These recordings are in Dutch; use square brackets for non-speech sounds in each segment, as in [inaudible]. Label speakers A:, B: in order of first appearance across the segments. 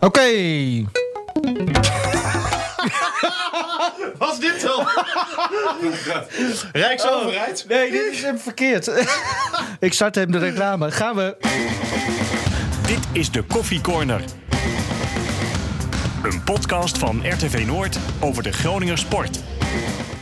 A: Oké.
B: Was dit [laughs] dan? Rijksoverheid?
A: Nee, dit is hem verkeerd. [laughs] ik start hem de reclame. Gaan we.
C: Dit is de Koffie Corner. Een podcast van RTV Noord over de Groninger sport.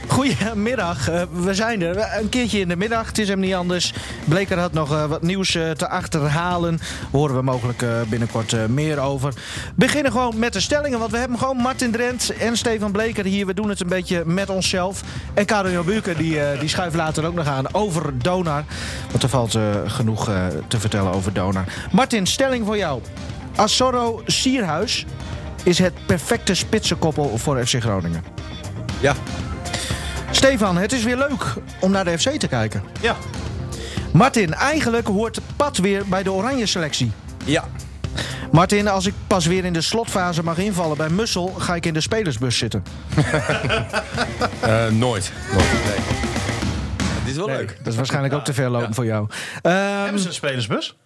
A: Goedemiddag, eh, we zijn er. Eh, Een keertje in de middag, het is hem niet anders. Bleker had nog eh, wat nieuws eh, te achterhalen. Horen we mogelijk eh, binnenkort eh, meer over. Beginnen gewoon met de stellingen, want we hebben gewoon Martin Drent en Stefan Bleker hier. We doen het een beetje met onszelf. En Karel Jan Buurken, die, eh, die schuift later ook nog aan over Donar. Want er valt eh, genoeg eh, te vertellen over Donar. Martin, stelling voor jou. Assoro Sierhuis is het perfecte spitsenkoppel voor FC Groningen.
B: Ja.
A: Stefan, het is weer leuk om naar de FC te kijken.
B: Ja.
A: Martin, eigenlijk hoort Pat weer bij de oranje selectie.
B: Ja.
A: Martin, als ik pas weer in de slotfase mag invallen bij Mussel, ga ik in de spelersbus zitten.
D: Eh, nooit. nooit. Nee.
B: Dit is wel leuk.
A: Dat is waarschijnlijk ook te ver lopen voor jou. Ehm,
B: Hebben ze een spelersbus?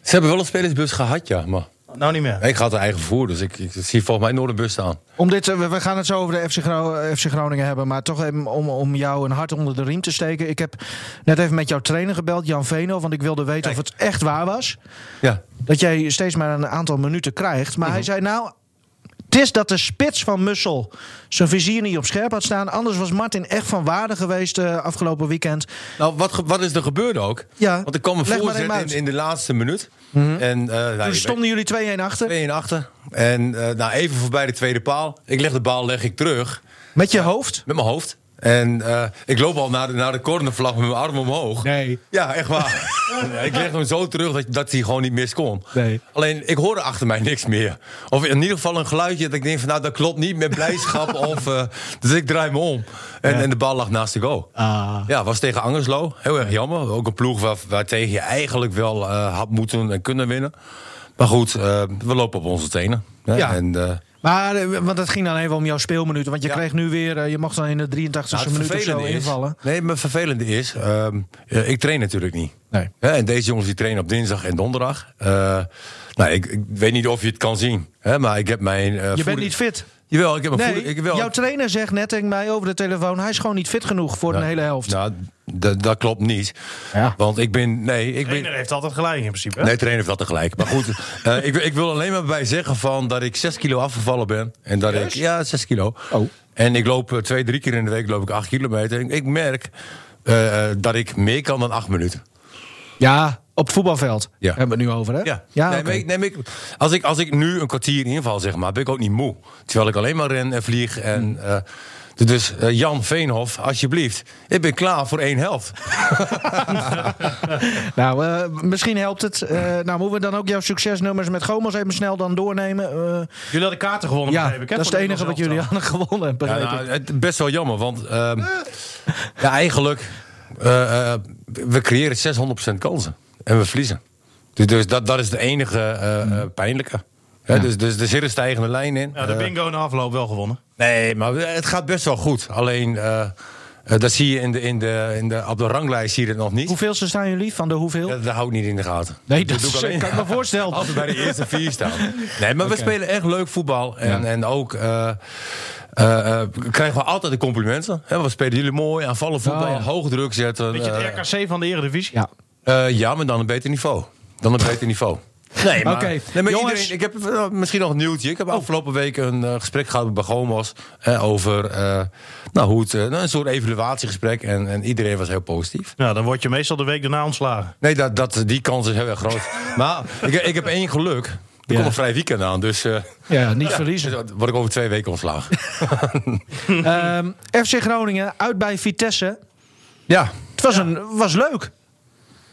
D: Ze hebben wel een spelersbus gehad, ja. Maar
B: Nou, niet meer.
D: ik had een eigen vervoer, dus ik, ik zie volgens mij nooit een bus staan.
A: om dit, eh, we we gaan het zo over de FC, Gro- FC Groningen hebben, maar toch even om, om jou een hart onder de riem te steken. Ik heb net even met jouw trainer gebeld, Jan Veno, want ik wilde weten of het echt waar was.
D: Ja.
A: dat jij steeds maar een aantal minuten krijgt. Maar hij
D: Mhm.
A: zei nou, het is dat de spits van Mussel zijn vizier niet op scherp had staan. Anders was Martin echt van waarde geweest eh, afgelopen weekend.
D: Nou, wat, ge- wat is er gebeurd ook?
A: Ja,
D: Want er kwam een
A: leg maar
D: voorzet
A: even uit.
D: in, in de laatste minuut. En eh nou, je
A: Toen
D: weet-
A: stonden jullie 2-1 achter.
D: 2 en achter. En eh, nou, even voorbij de tweede paal. Ik leg de bal leg ik terug
A: Met je hoofd.
D: met mijn hoofd. En eh, ik loop al naar de, naar de cornervlag met mijn arm omhoog.
A: Nee.
D: Ja, echt waar. Ja, ik leg hem zo terug dat, dat hij gewoon niet mis kon.
A: Nee.
D: Alleen, ik hoorde achter mij niks meer. Of in ieder geval een geluidje dat ik denk van... nou, dat klopt niet met
A: [laughs]
D: blijdschap. of, eh, dus ik draai me om. En, en de bal lag naast de goal.
A: Ah.
D: Ja, was tegen Angerslo. Heel erg jammer. Ook een ploeg waar, waartegen je eigenlijk wel eh, had moeten en kunnen winnen. Maar goed, eh, we lopen op onze tenen. hè.
A: Ja.
D: En, eh,
A: Maar eh, want het ging dan even om jouw speelminuten. Want je
D: Ja.
A: kreeg nu weer, eh, je mocht dan in de 83e
D: Nou, het
A: minuut of zo
D: vervelende is-
A: invallen.
D: Nee, maar het vervelende is, ehm, eh, ik train natuurlijk niet.
A: Nee.
D: Hè, en deze jongens die trainen op dinsdag en donderdag. Eh, nou, ik, ik weet niet of je het kan zien. Hè, maar ik heb mijn.
A: Je
D: eh,
A: bent
D: voeding-
A: niet fit.
D: Jawel, ik heb mijn
A: Nee,
D: voeding. Ik, wel,
A: jouw trainer zegt net tegen mij over de telefoon... hij is gewoon niet fit genoeg voor
D: Nou,
A: een hele helft.
D: Nou, d- dat klopt niet.
A: Ja.
D: Want ik ben. Nee, ik
B: De
D: ben.
B: trainer heeft altijd gelijk in principe. hè?
D: Nee, trainer heeft dat tegelijk. Maar
B: [laughs]
D: goed, eh, ik, ik wil alleen maar bij zeggen van dat ik 6 kilo afgevallen ben. En dat ik, ja, 6 kilo.
A: Oh.
D: En ik loop eh, twee, drie keer in de week loop ik 8 kilometer. Ik, ik merk eh, eh, dat ik meer kan dan 8 minuten.
A: Ja, op het voetbalveld
D: Ja.
A: hebben we het nu over, hè?
D: Ja,
A: ja
D: nee,
A: oké.
D: maar ik- nee, maar ik- als, ik, als ik nu een kwartier inval, zeg maar, ben ik ook niet moe. Terwijl ik alleen maar ren en vlieg. En,
A: Hm.
D: eh, d- dus eh, Jan Veenhof, alsjeblieft. Ik ben klaar voor één helft.
A: [laughs] Nou, eh, misschien helpt het. Eh, nou, moeten we dan ook jouw succesnummers met Gomos even snel dan doornemen? Eh,
B: Jullie hadden kaarten gewonnen,
A: ja,
B: begreep ik. hè,
A: dat is
B: voor
A: het enige wat jullie
B: Nederlands
A: hadden gewonnen. hebben,
D: Ja,
A: begreep ik.
D: nou, het, best wel jammer, want ehm, ja, eigenlijk... eh, eh, we creëren 600% kansen. En we verliezen. Dus, dus dat, dat is de enige eh, eh,
A: Hm.
D: pijnlijke. Hè, dus, dus er zit een stijgende lijn in.
B: elftal. Ja, de
D: Eh,
B: bingo na afloop wel gewonnen.
D: Nee, maar het gaat best wel goed. Alleen, eh, eh, dat zie je in de, in de, in de, op de ranglijst zie je het nog niet.
A: Hoeveelste staan jullie van de hoeveel?
D: Dat, dat houdt niet in de gaten.
A: nee, dat,
D: doe ik
A: is-
D: alleen
A: [laughs] kan ik me
D: [laughs]
A: voorstellen.
D: Als we bij de eerste vier staan. Nee, maar we spelen echt leuk voetbal. En,
A: Ja.
D: en ook eh, eh, eh, krijgen we altijd de complimenten. Hè, we spelen jullie mooi, aanvallen voetbal,
A: Oh, ja.
D: hoog druk zetten.
B: Beetje
D: eh,
B: het RKC van de Eredivisie.
A: Ja.
D: eh, ja, maar dan een beter niveau. Dan een beter niveau. Nee, maar,
A: Oké,
D: nee, maar
A: jongens.
D: iedereen, ik heb eh, misschien nog een nieuwtje. Ik heb afgelopen week een eh, gesprek gehad bij Gomos eh, over eh, nou, hoe het, eh, nou, een soort evaluatiegesprek. En, en iedereen was heel positief.
B: Nou, dan word je meestal de week daarna ontslagen.
D: Nee, dat, dat, die kans is heel erg groot. maar ik, ik heb één geluk. Er komt een vrij weekend aan, dus eh,
A: Ja, niet verliezen.
D: dus word ik over twee weken ontslagen.
A: Ehm, FC Groningen, uit bij Vitesse.
D: ja,
A: Het was, een, was leuk.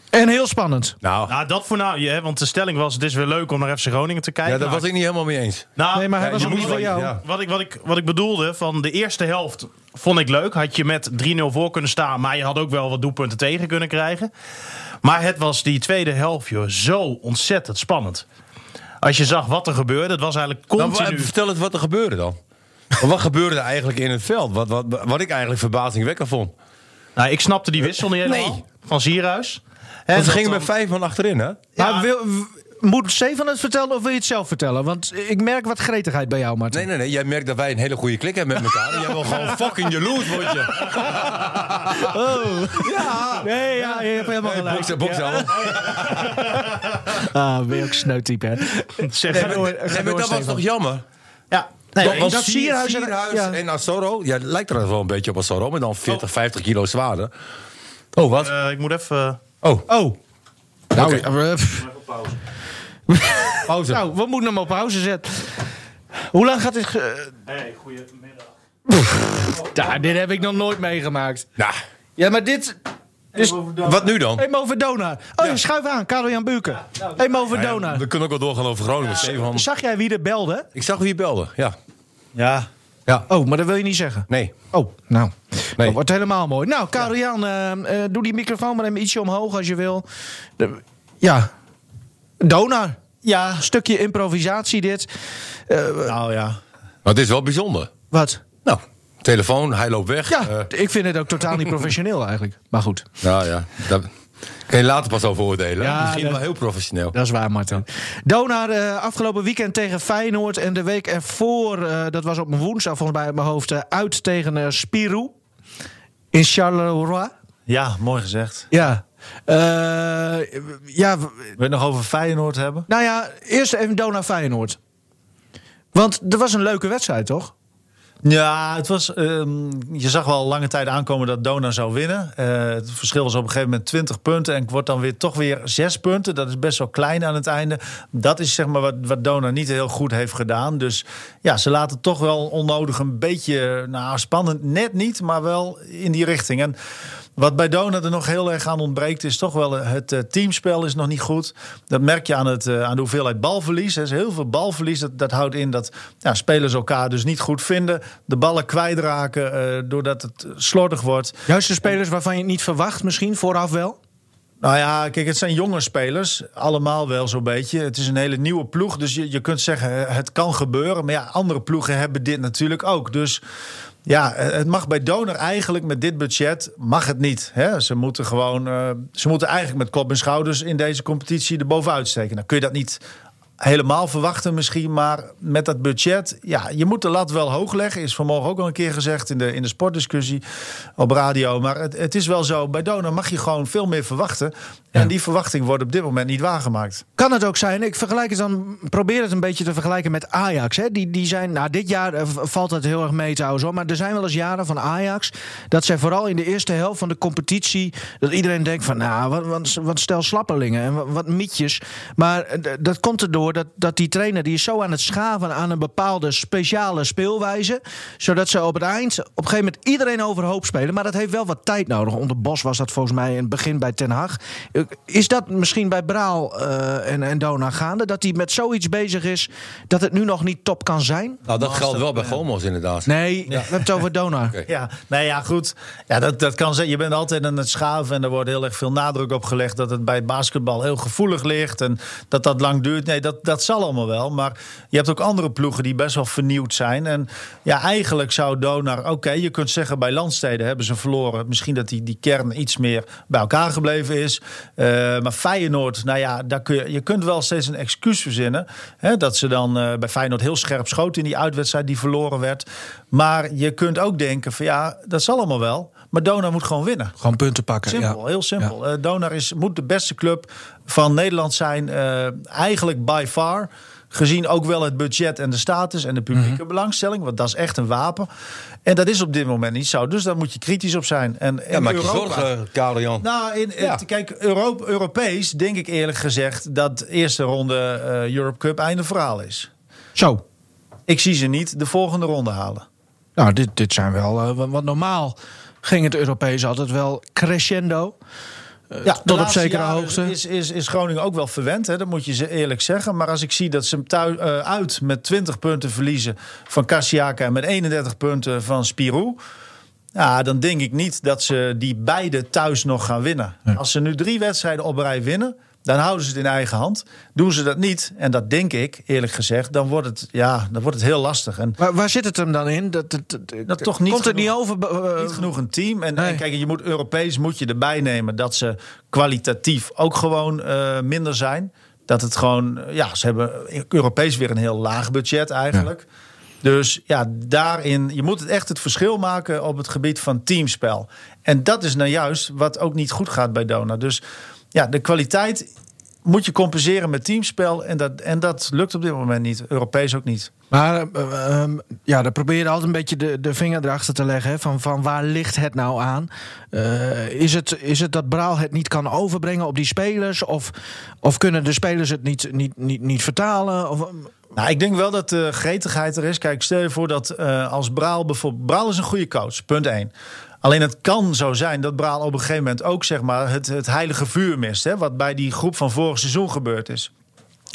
A: En heel spannend.
D: nou,
B: Nou, dat voor nou, hè, want de stelling was: het is weer leuk om naar FC Groningen te kijken.
D: ja, daar
B: Nou,
D: was ik niet helemaal mee eens.
B: Nou,
A: Nee, maar hij
B: ja,
A: was
B: je
A: ook
B: moet
A: niet
B: wel-
A: voor jou.
D: ja.
B: Wat ik, wat, ik, wat ik bedoelde, van de eerste helft vond ik leuk. Had je met 3-0 voor kunnen staan, maar je had ook wel wat doelpunten tegen kunnen krijgen. Maar het was die tweede helft, joh, zo ontzettend spannend. Als je zag wat er gebeurde, het was eigenlijk
D: Dan,
B: continu...
D: Nou, vertel het wat er gebeurde dan. wat gebeurde er eigenlijk in het veld? Wat, wat, wat ik eigenlijk verbazingwekkend vond.
B: nou, ik snapte die wissel niet helemaal
D: Nee.
B: van Sierhuis. Hè,
D: En ze
B: dat
D: gingen
B: dan-
D: met vijf man achterin, hè?
B: Ja.
A: Maar Nou, wil, w- moet Stefan het vertellen of wil je het zelf vertellen? Want ik merk wat gretigheid bij jou, Martin.
D: Nee, nee, nee. Jij merkt dat wij een hele goede klik hebben met elkaar. En jij wil gewoon fucking jaloers, word je.
A: Oh. Ja. Nee, ja, je hebt helemaal
D: Hey,
A: gelijk.
D: boksen, boksen. allemaal.
A: Ah, weer ook sneutype, hè.
B: [laughs] Zeg
A: Nee,
B: het.
A: door,
D: Nee,
A: ga door,
D: maar dat was
A: Stefan.
D: toch jammer?
B: Ja. Nee,
A: Dat-
B: eens.
A: dat- Sierhuis en-
D: Sierhuis
A: ja. Oh.
D: en Asoro. Ja, het lijkt er wel een beetje op Asoro, maar dan 40, 50 kilo zwaarder. Oh, wat?
B: Eh, ik moet even... eh,
D: oh,
A: Oh. Nou, eh, pff.
D: pauze.
A: nou, we moeten hem op pauze zetten. Hoe lang gaat dit... ge-
B: Hey, goedemiddag.
A: Ja, dit heb ik nog nooit meegemaakt.
D: Nou,
A: Ja, maar dit... Dus,
D: wat nu dan?
A: Emo Verdona. Oh ja, schuif aan. Karel-Jan Buurken.
B: nou,
A: Emo Verdona.
D: We kunnen ook wel doorgaan over Groningen. Stefan.
A: Zag jij wie er belde?
D: Ik zag wie belde. Ja.
B: Ja.
A: Oh, maar dat wil je niet zeggen.
D: Nee.
A: Oh, nou.
D: Nee.
A: Dat wordt helemaal mooi. Nou, Karel-Jan, eh, eh, doe die microfoon maar even ietsje omhoog als je wil. De- ja. Donar.
B: Ja.
A: Stukje improvisatie dit.
B: Nou ja.
D: Maar het is wel bijzonder.
A: Wat?
D: Nou, telefoon, hij loopt weg.
A: Ja,
D: Eh,
A: ik vind het ook totaal niet professioneel eigenlijk. Maar goed,
D: nou ja, daar kan je later pas over oordelen.
A: Ja,
D: Misschien
A: dat-
D: wel heel professioneel.
A: dat is waar, Martin. Donar eh, afgelopen weekend tegen Feyenoord en de week ervoor, eh, dat was op een woensdag volgens mij uit mijn hoofd, eh, uit tegen eh, Spirou in Charleroi.
E: Ja, mooi gezegd.
A: Ja. Eh, ja, w-
E: Wil je het nog over Feyenoord hebben?
A: nou ja, eerst even Donar Feyenoord. Want er was een leuke wedstrijd, toch?
E: Ja, het was, ehm, je zag wel lange tijd aankomen dat Dona zou winnen. Eh, het verschil was op een gegeven moment 20 punten en het wordt dan weer toch weer 6 punten. Dat is best wel klein aan het einde. Dat is zeg maar wat, wat Dona niet heel goed heeft gedaan. Dus ja, ze laten toch wel onnodig een beetje nou, spannend. Net niet, maar wel in die richting. En wat bij Dona er nog heel erg aan ontbreekt, is toch wel het eh, teamspel is nog niet goed. Dat merk je aan, het, eh, aan de hoeveelheid balverlies. Er is heel veel balverlies. Dat, dat houdt in dat ja, spelers elkaar dus niet goed vinden. De ballen kwijtraken eh, doordat het slordig wordt.
A: Juist de spelers waarvan je het niet verwacht, misschien vooraf wel.
E: Nou ja, kijk, het zijn jonge spelers. Allemaal wel zo'n beetje. Het is een hele nieuwe ploeg. Dus je, je kunt zeggen, eh, het kan gebeuren. Maar ja, andere ploegen hebben dit natuurlijk ook. Dus ja, eh, het mag bij Donor eigenlijk met dit budget, mag het niet. Hè? Ze moeten gewoon, eh, ze moeten eigenlijk met kop en schouders in deze competitie erbovenuit steken. Dan kun je dat niet helemaal verwachten misschien, maar met dat budget, ja, je moet de lat wel hoog leggen. Is vanmorgen ook al een keer gezegd in de, in de sportdiscussie op radio. Maar het, het is wel zo, bij Dona mag je gewoon veel meer verwachten. En die verwachting wordt op dit moment niet waargemaakt.
A: Kan het ook zijn, ik vergelijk het dan, probeer het een beetje te vergelijken met Ajax. Hè? Die, die zijn, nou, dit jaar eh, v- valt dat heel erg mee trouwens, hoor. maar er zijn wel eens jaren van Ajax... dat zij vooral in de eerste helft van de competitie... dat iedereen denkt van, nou, wat, wat, wat stel slapperlingen en wat, wat mietjes. Maar eh, d- dat komt erdoor dat, dat die trainer die is zo aan het schaven... aan een bepaalde speciale speelwijze... zodat ze op het eind op een gegeven moment iedereen overhoop spelen. Maar dat heeft wel wat tijd nodig. Onder Bos was dat volgens mij in het begin bij Ten Haag. Eh, Is dat misschien bij Braal eh, en, en Dona gaande? Dat hij met zoiets bezig is dat het nu nog niet top kan zijn?
D: Nou, dat geldt wel bij Gomos inderdaad.
A: Nee, we hebben het over Dona.
E: Ja, nou ja, goed. Ja, dat, dat kan zijn. Je bent altijd aan het schaven en er wordt heel erg veel nadruk op gelegd dat het bij basketbal heel gevoelig ligt en dat dat lang duurt. Nee, dat, dat zal allemaal wel. Maar je hebt ook andere ploegen die best wel vernieuwd zijn. En ja, eigenlijk zou Donar, oké, je kunt zeggen bij landsteden hebben ze verloren. Misschien dat die, die kern iets meer bij elkaar gebleven is. Eh, maar Feyenoord, nou ja, daar kun je, je kunt wel steeds een excuus verzinnen. Hè, dat ze dan eh, bij Feyenoord heel scherp schoten in die uitwedstrijd die verloren werd. Maar je kunt ook denken van ja, dat zal allemaal wel. Maar Donar moet gewoon winnen.
A: Gewoon punten pakken.
E: Simpel,
A: ja.
E: heel simpel. Eh, Donar is, moet de beste club van Nederland zijn. eh, eigenlijk by far. Gezien ook wel het budget en de status en de publieke
D: Mhm.
E: belangstelling. Want dat is echt een wapen. En dat is op dit moment niet zo. Dus daar moet je kritisch op zijn. En,
D: Ja,
E: in
D: maak je
E: Europa-
D: zorgen, Karel-Jan.
E: nou, in,
D: Ja.
E: het- kijk, Euro- Europees denk ik eerlijk gezegd dat eerste ronde eh, Europe Cup einde verhaal is.
A: Zo.
E: Ik zie ze niet de volgende ronde halen.
A: Nou, dit, dit zijn wel. eh, wa- want normaal ging het Europees altijd wel crescendo.
E: Ja,
A: tot op
E: eh, laatste
A: zekere
E: jaren
A: hoogte.
E: Is, is, is Groningen ook wel verwend, hè? dat moet je ze eerlijk zeggen. Maar als ik zie dat ze hem thui- eh, uit met 20 punten verliezen van Kassiaka en met 31 punten van Spirou. Ja, dan denk ik niet dat ze die beide thuis nog gaan winnen. Als ze nu drie wedstrijden op rij winnen, dan houden ze het in eigen hand. Doen ze dat niet, en dat denk ik eerlijk gezegd, dan wordt het, ja, dan wordt het heel lastig. En
A: Waar, waar zit het hem dan in? Dat, dat, dat,
E: Dat toch niet
A: komt het niet
E: genoeg-
A: over? eh,
E: niet genoeg een team. En,
A: Nee.
E: en kijk, je moet Europees moet je erbij nemen dat ze kwalitatief ook gewoon eh, minder zijn. Dat het gewoon, ja, ze hebben Europees weer een heel laag budget eigenlijk. Dus ja, daarin, je moet het echt het verschil maken op het gebied van teamspel. En dat is nou juist wat ook niet goed gaat bij Dona. Dus ja, de kwaliteit moet je compenseren met teamspel. En dat, en dat lukt op dit moment niet. Europees ook niet.
A: Maar eh, ehm, ja, dan probeer je altijd een beetje de, de vinger erachter te leggen. hè, Van, van waar ligt het nou aan? Eh, is, het, is het dat Braal het niet kan overbrengen op die spelers? Of, of kunnen de spelers het niet, niet, niet, niet vertalen? Of, ehm,
E: Nou, ik denk wel dat de gretigheid er is. Kijk, stel je voor dat eh, als Braal bijvoorbeeld... Braal is een goede coach, punt 1. Alleen het kan zo zijn dat Braal op een gegeven moment ook zeg maar, het, het heilige vuur mist. Hè, wat bij die groep van vorig seizoen gebeurd is.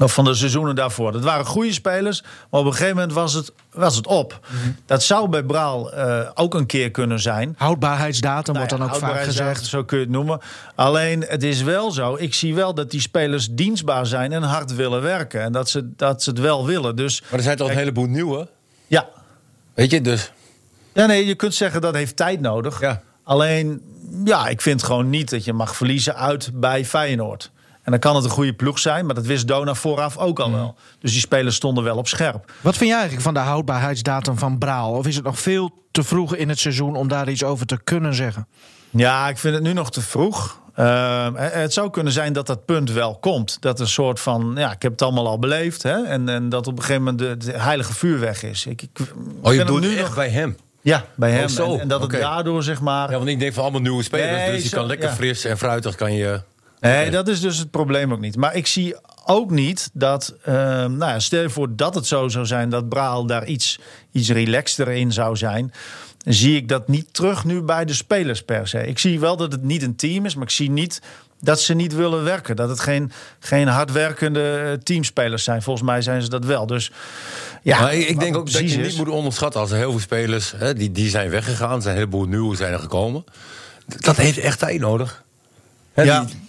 E: Of van de seizoenen daarvoor. Dat waren goede spelers, maar op een gegeven moment was het, was het op.
A: Mhm.
E: Dat zou bij Braal eh, ook een keer kunnen zijn.
A: houdbaarheidsdatum wordt dan
E: Nou ja,
A: ook vaak
E: houdbaarheidsdatum,
A: gezegd.
E: Zo kun je het noemen. Alleen, het is wel zo. Ik zie wel dat die spelers dienstbaar zijn en hard willen werken. En dat ze, dat ze het wel willen. Dus
D: Maar er zijn toch een
E: Kijk.
D: heleboel nieuwe?
E: ja.
D: Weet je, dus...
E: ja, nee, je kunt zeggen dat heeft tijd nodig.
D: Ja.
E: Alleen, ja, ik vind gewoon niet dat je mag verliezen uit bij Feyenoord. En dan kan het een goede ploeg zijn, maar dat wist Dona vooraf ook
D: Mm.
E: al wel. Dus die spelers stonden wel op scherp.
A: Wat vind jij eigenlijk van de houdbaarheidsdatum van Braal? Of is het nog veel te vroeg in het seizoen om daar iets over te kunnen zeggen?
E: Ja, ik vind het nu nog te vroeg. Ehm, eh, het zou kunnen zijn dat dat punt wel komt. Dat een soort van, ja, ik heb het allemaal al beleefd. Hè? En, en dat op een gegeven moment de, de heilige vuur weg is. Ik, ik, ik
D: Oh,
E: ben
D: je
E: hem
D: doet
E: nu
D: echt
E: nog-
D: bij hem.
E: Ja, bij hem.
D: zo,
E: en, en dat
D: oké.
E: het daardoor, zeg maar...
D: Ja, want ik denk van allemaal nieuwe spelers.
E: Nee,
D: dus je
E: zo-
D: kan lekker
E: ja.
D: fris en fruitig kan je... Eh.
E: Nee, dat is dus het probleem ook niet. Maar ik zie ook niet dat, ehm, nou ja, stel je voor dat het zo zou zijn dat Braal daar iets, iets relaxter in zou zijn. Zie ik dat niet terug nu bij de spelers per se. Ik zie wel dat het niet een team is, maar ik zie niet dat ze niet willen werken. Dat het geen, geen hardwerkende eh, teamspelers zijn. Volgens mij zijn ze dat wel. Dus ja,
D: maar ik, ik
E: wat
D: denk
E: het
D: ook dat je
E: precies
D: niet
E: is-
D: moet onderschatten als er heel veel spelers... Hè, die, die zijn weggegaan, er zijn een heleboel nieuwe zijn er gekomen. D- Dat heeft echt tijd nodig. Hè,
E: Ja. Nou,
D: die-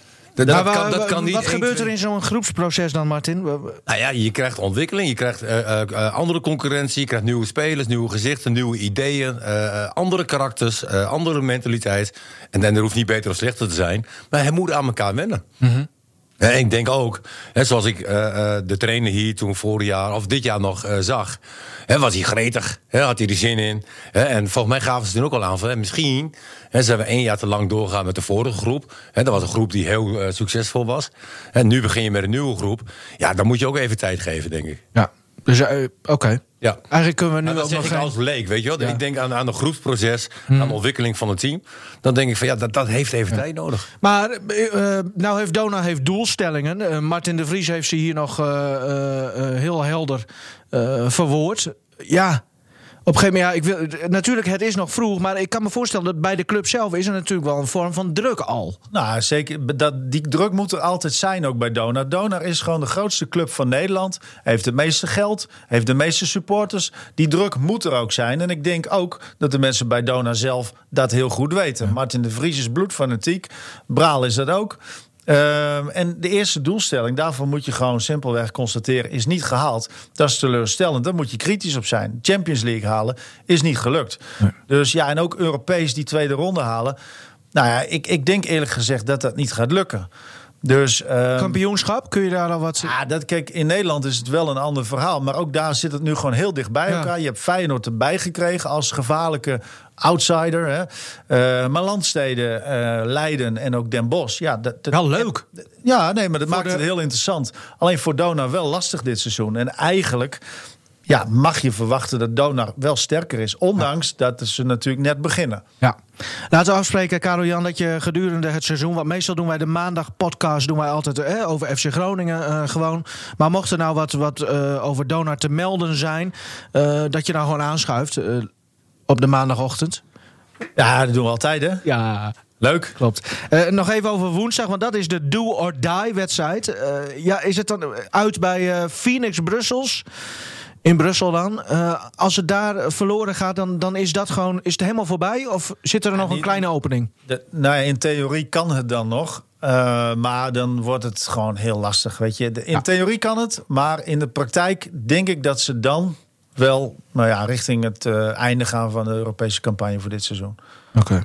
D: dat,
A: Maar
D: dat
A: wa-
D: kan, dat
A: wa-
D: kan niet
A: wat
D: één,
A: gebeurt
D: twee-
A: er in zo'n groepsproces dan, Martin? Wa- wa-
D: Nou ja, je krijgt ontwikkeling, je krijgt eh, eh, eh, andere concurrentie, je krijgt nieuwe spelers, nieuwe gezichten, nieuwe ideeën, eh, eh, andere karakters, eh, andere mentaliteit. En dan er hoeft niet beter of slechter te zijn, maar hij moet aan elkaar wennen. En ik denk ook, hè, zoals ik eh, eh, de trainer hier toen vorig jaar of dit jaar nog eh, zag, hè, was hij gretig, hè, had hij er zin in. hè, en volgens mij gaven ze toen ook al aan van hè, misschien hè, zijn we één jaar te lang doorgaan met de vorige groep. Hè, dat was een groep die heel eh, succesvol was. En nu begin je met een nieuwe groep. Ja, dan moet je ook even tijd geven, denk ik.
A: Ja, dus eh, oké.
D: Ja.
A: Eigenlijk kunnen we nu
D: Nou, dat
A: ook
D: zeg
A: nog
D: ik
A: geen-
D: als leek, weet je wel.
A: Ja. Hmm.
D: Ik denk aan, aan een groepsproces, aan de ontwikkeling van het team. Dan denk ik van ja, dat, dat heeft even tijd nodig.
A: Maar eh, eh, nou heeft Dona heeft doelstellingen. Eh, Martin de Vries heeft ze hier nog eh, eh, eh, heel helder eh, verwoord. Ja, op een gegeven moment, ja, ik wil, natuurlijk het is nog vroeg, maar ik kan me voorstellen dat bij de club zelf is er natuurlijk wel een vorm van druk al.
E: Nou, zeker. Dat, die druk moet er altijd zijn ook bij Donar. Donar is gewoon de grootste club van Nederland. Heeft het meeste geld, heeft de meeste supporters. Die druk moet er ook zijn. En ik denk ook dat de mensen bij Donar zelf dat heel goed weten. Martin de Vries is bloedfanatiek. Braal is dat ook. Ehm, en de eerste doelstelling, daarvan moet je gewoon simpelweg constateren, is niet gehaald. Dat is teleurstellend, daar moet je kritisch op zijn. Champions League halen is niet gelukt. Dus ja, en ook Europees die tweede ronde halen. Nou ja, ik, ik denk eerlijk gezegd dat dat niet gaat lukken. Dus ehm,
A: Kampioenschap, kun je daar al wat...
E: ja, dat, kijk, in Nederland is het wel een ander verhaal. Maar ook daar zit het nu gewoon heel dicht bij
A: Ja.
E: elkaar. Je hebt Feyenoord erbij gekregen als gevaarlijke outsider. Hè. Eh, maar landsteden, eh, Leiden en ook Den Bosch. Ja, dat, dat-
A: Wel leuk.
E: Ja, nee, maar dat maakt
A: de-
E: het heel interessant. Alleen voor Donar wel lastig dit seizoen. En eigenlijk ja, mag je verwachten dat Donar wel sterker is. Ondanks dat ze natuurlijk net beginnen.
A: Ja. Laten we afspreken, Karel Jan, dat je gedurende het seizoen. Want meestal doen wij de maandag podcast doen wij altijd eh, over FC Groningen eh, gewoon. Maar mocht er nou wat, wat eh, over Donar te melden zijn, eh, dat je nou gewoon aanschuift eh, op de maandagochtend.
E: Ja, dat doen we altijd, hè?
A: Ja,
E: Leuk.
A: klopt. Eh, nog even over woensdag, want dat is de do or die wedstrijd. Eh, ja, is het dan uit bij eh, Phoenix Brussels? In Brussel dan. Eh, als het daar verloren gaat, dan, dan is dat gewoon. Is het helemaal voorbij? Of zit er nog een
E: die-
A: kleine opening?
E: De- nou ja, in theorie kan het dan nog. eh, maar dan wordt het gewoon heel lastig. Weet je. De- in theorie kan het, maar in de praktijk denk ik dat ze dan wel nou ja, richting het eh, einde gaan van de Europese campagne voor dit seizoen.
A: Oké.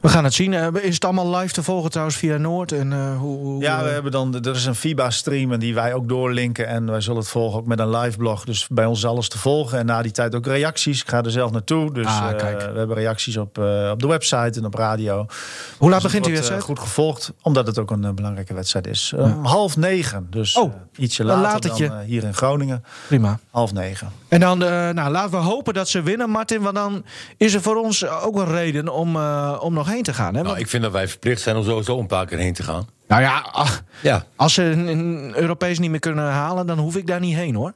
A: We gaan het zien. Eh, is het allemaal live te volgen trouwens via Noord? En, eh, hoe, hoe,
E: Ja, we
A: eh,
E: hebben dan, er is een FIBA-stream en die wij ook doorlinken. En wij zullen het volgen ook met een live blog. Dus bij ons is alles te volgen. En na die tijd ook reacties. Ik ga er zelf naartoe. Dus
A: Ah,
E: eh,
A: kijk.
E: we hebben reacties op, eh, op de website en op radio.
A: hoe laat begint
E: Dus het
A: die
E: wordt, eh,
A: wedstrijd?
E: goed gevolgd, omdat het ook een eh, belangrijke wedstrijd is. Eh, Om half negen, dus
A: Oh,
E: eh, ietsje
A: een
E: later
A: latertje.
E: dan eh, hier in Groningen.
A: Prima.
E: Half negen.
A: En dan, eh, nou, laten we hopen dat ze winnen, Martin. Want dan is er voor ons ook een reden om, eh, om nog heen te gaan. Hè? Want-
D: Nou, ik vind dat wij verplicht zijn om sowieso een paar keer heen te gaan.
A: nou ja, ah,
D: Ja,
A: als ze een, een Europees niet meer kunnen halen, dan hoef ik daar niet heen hoor.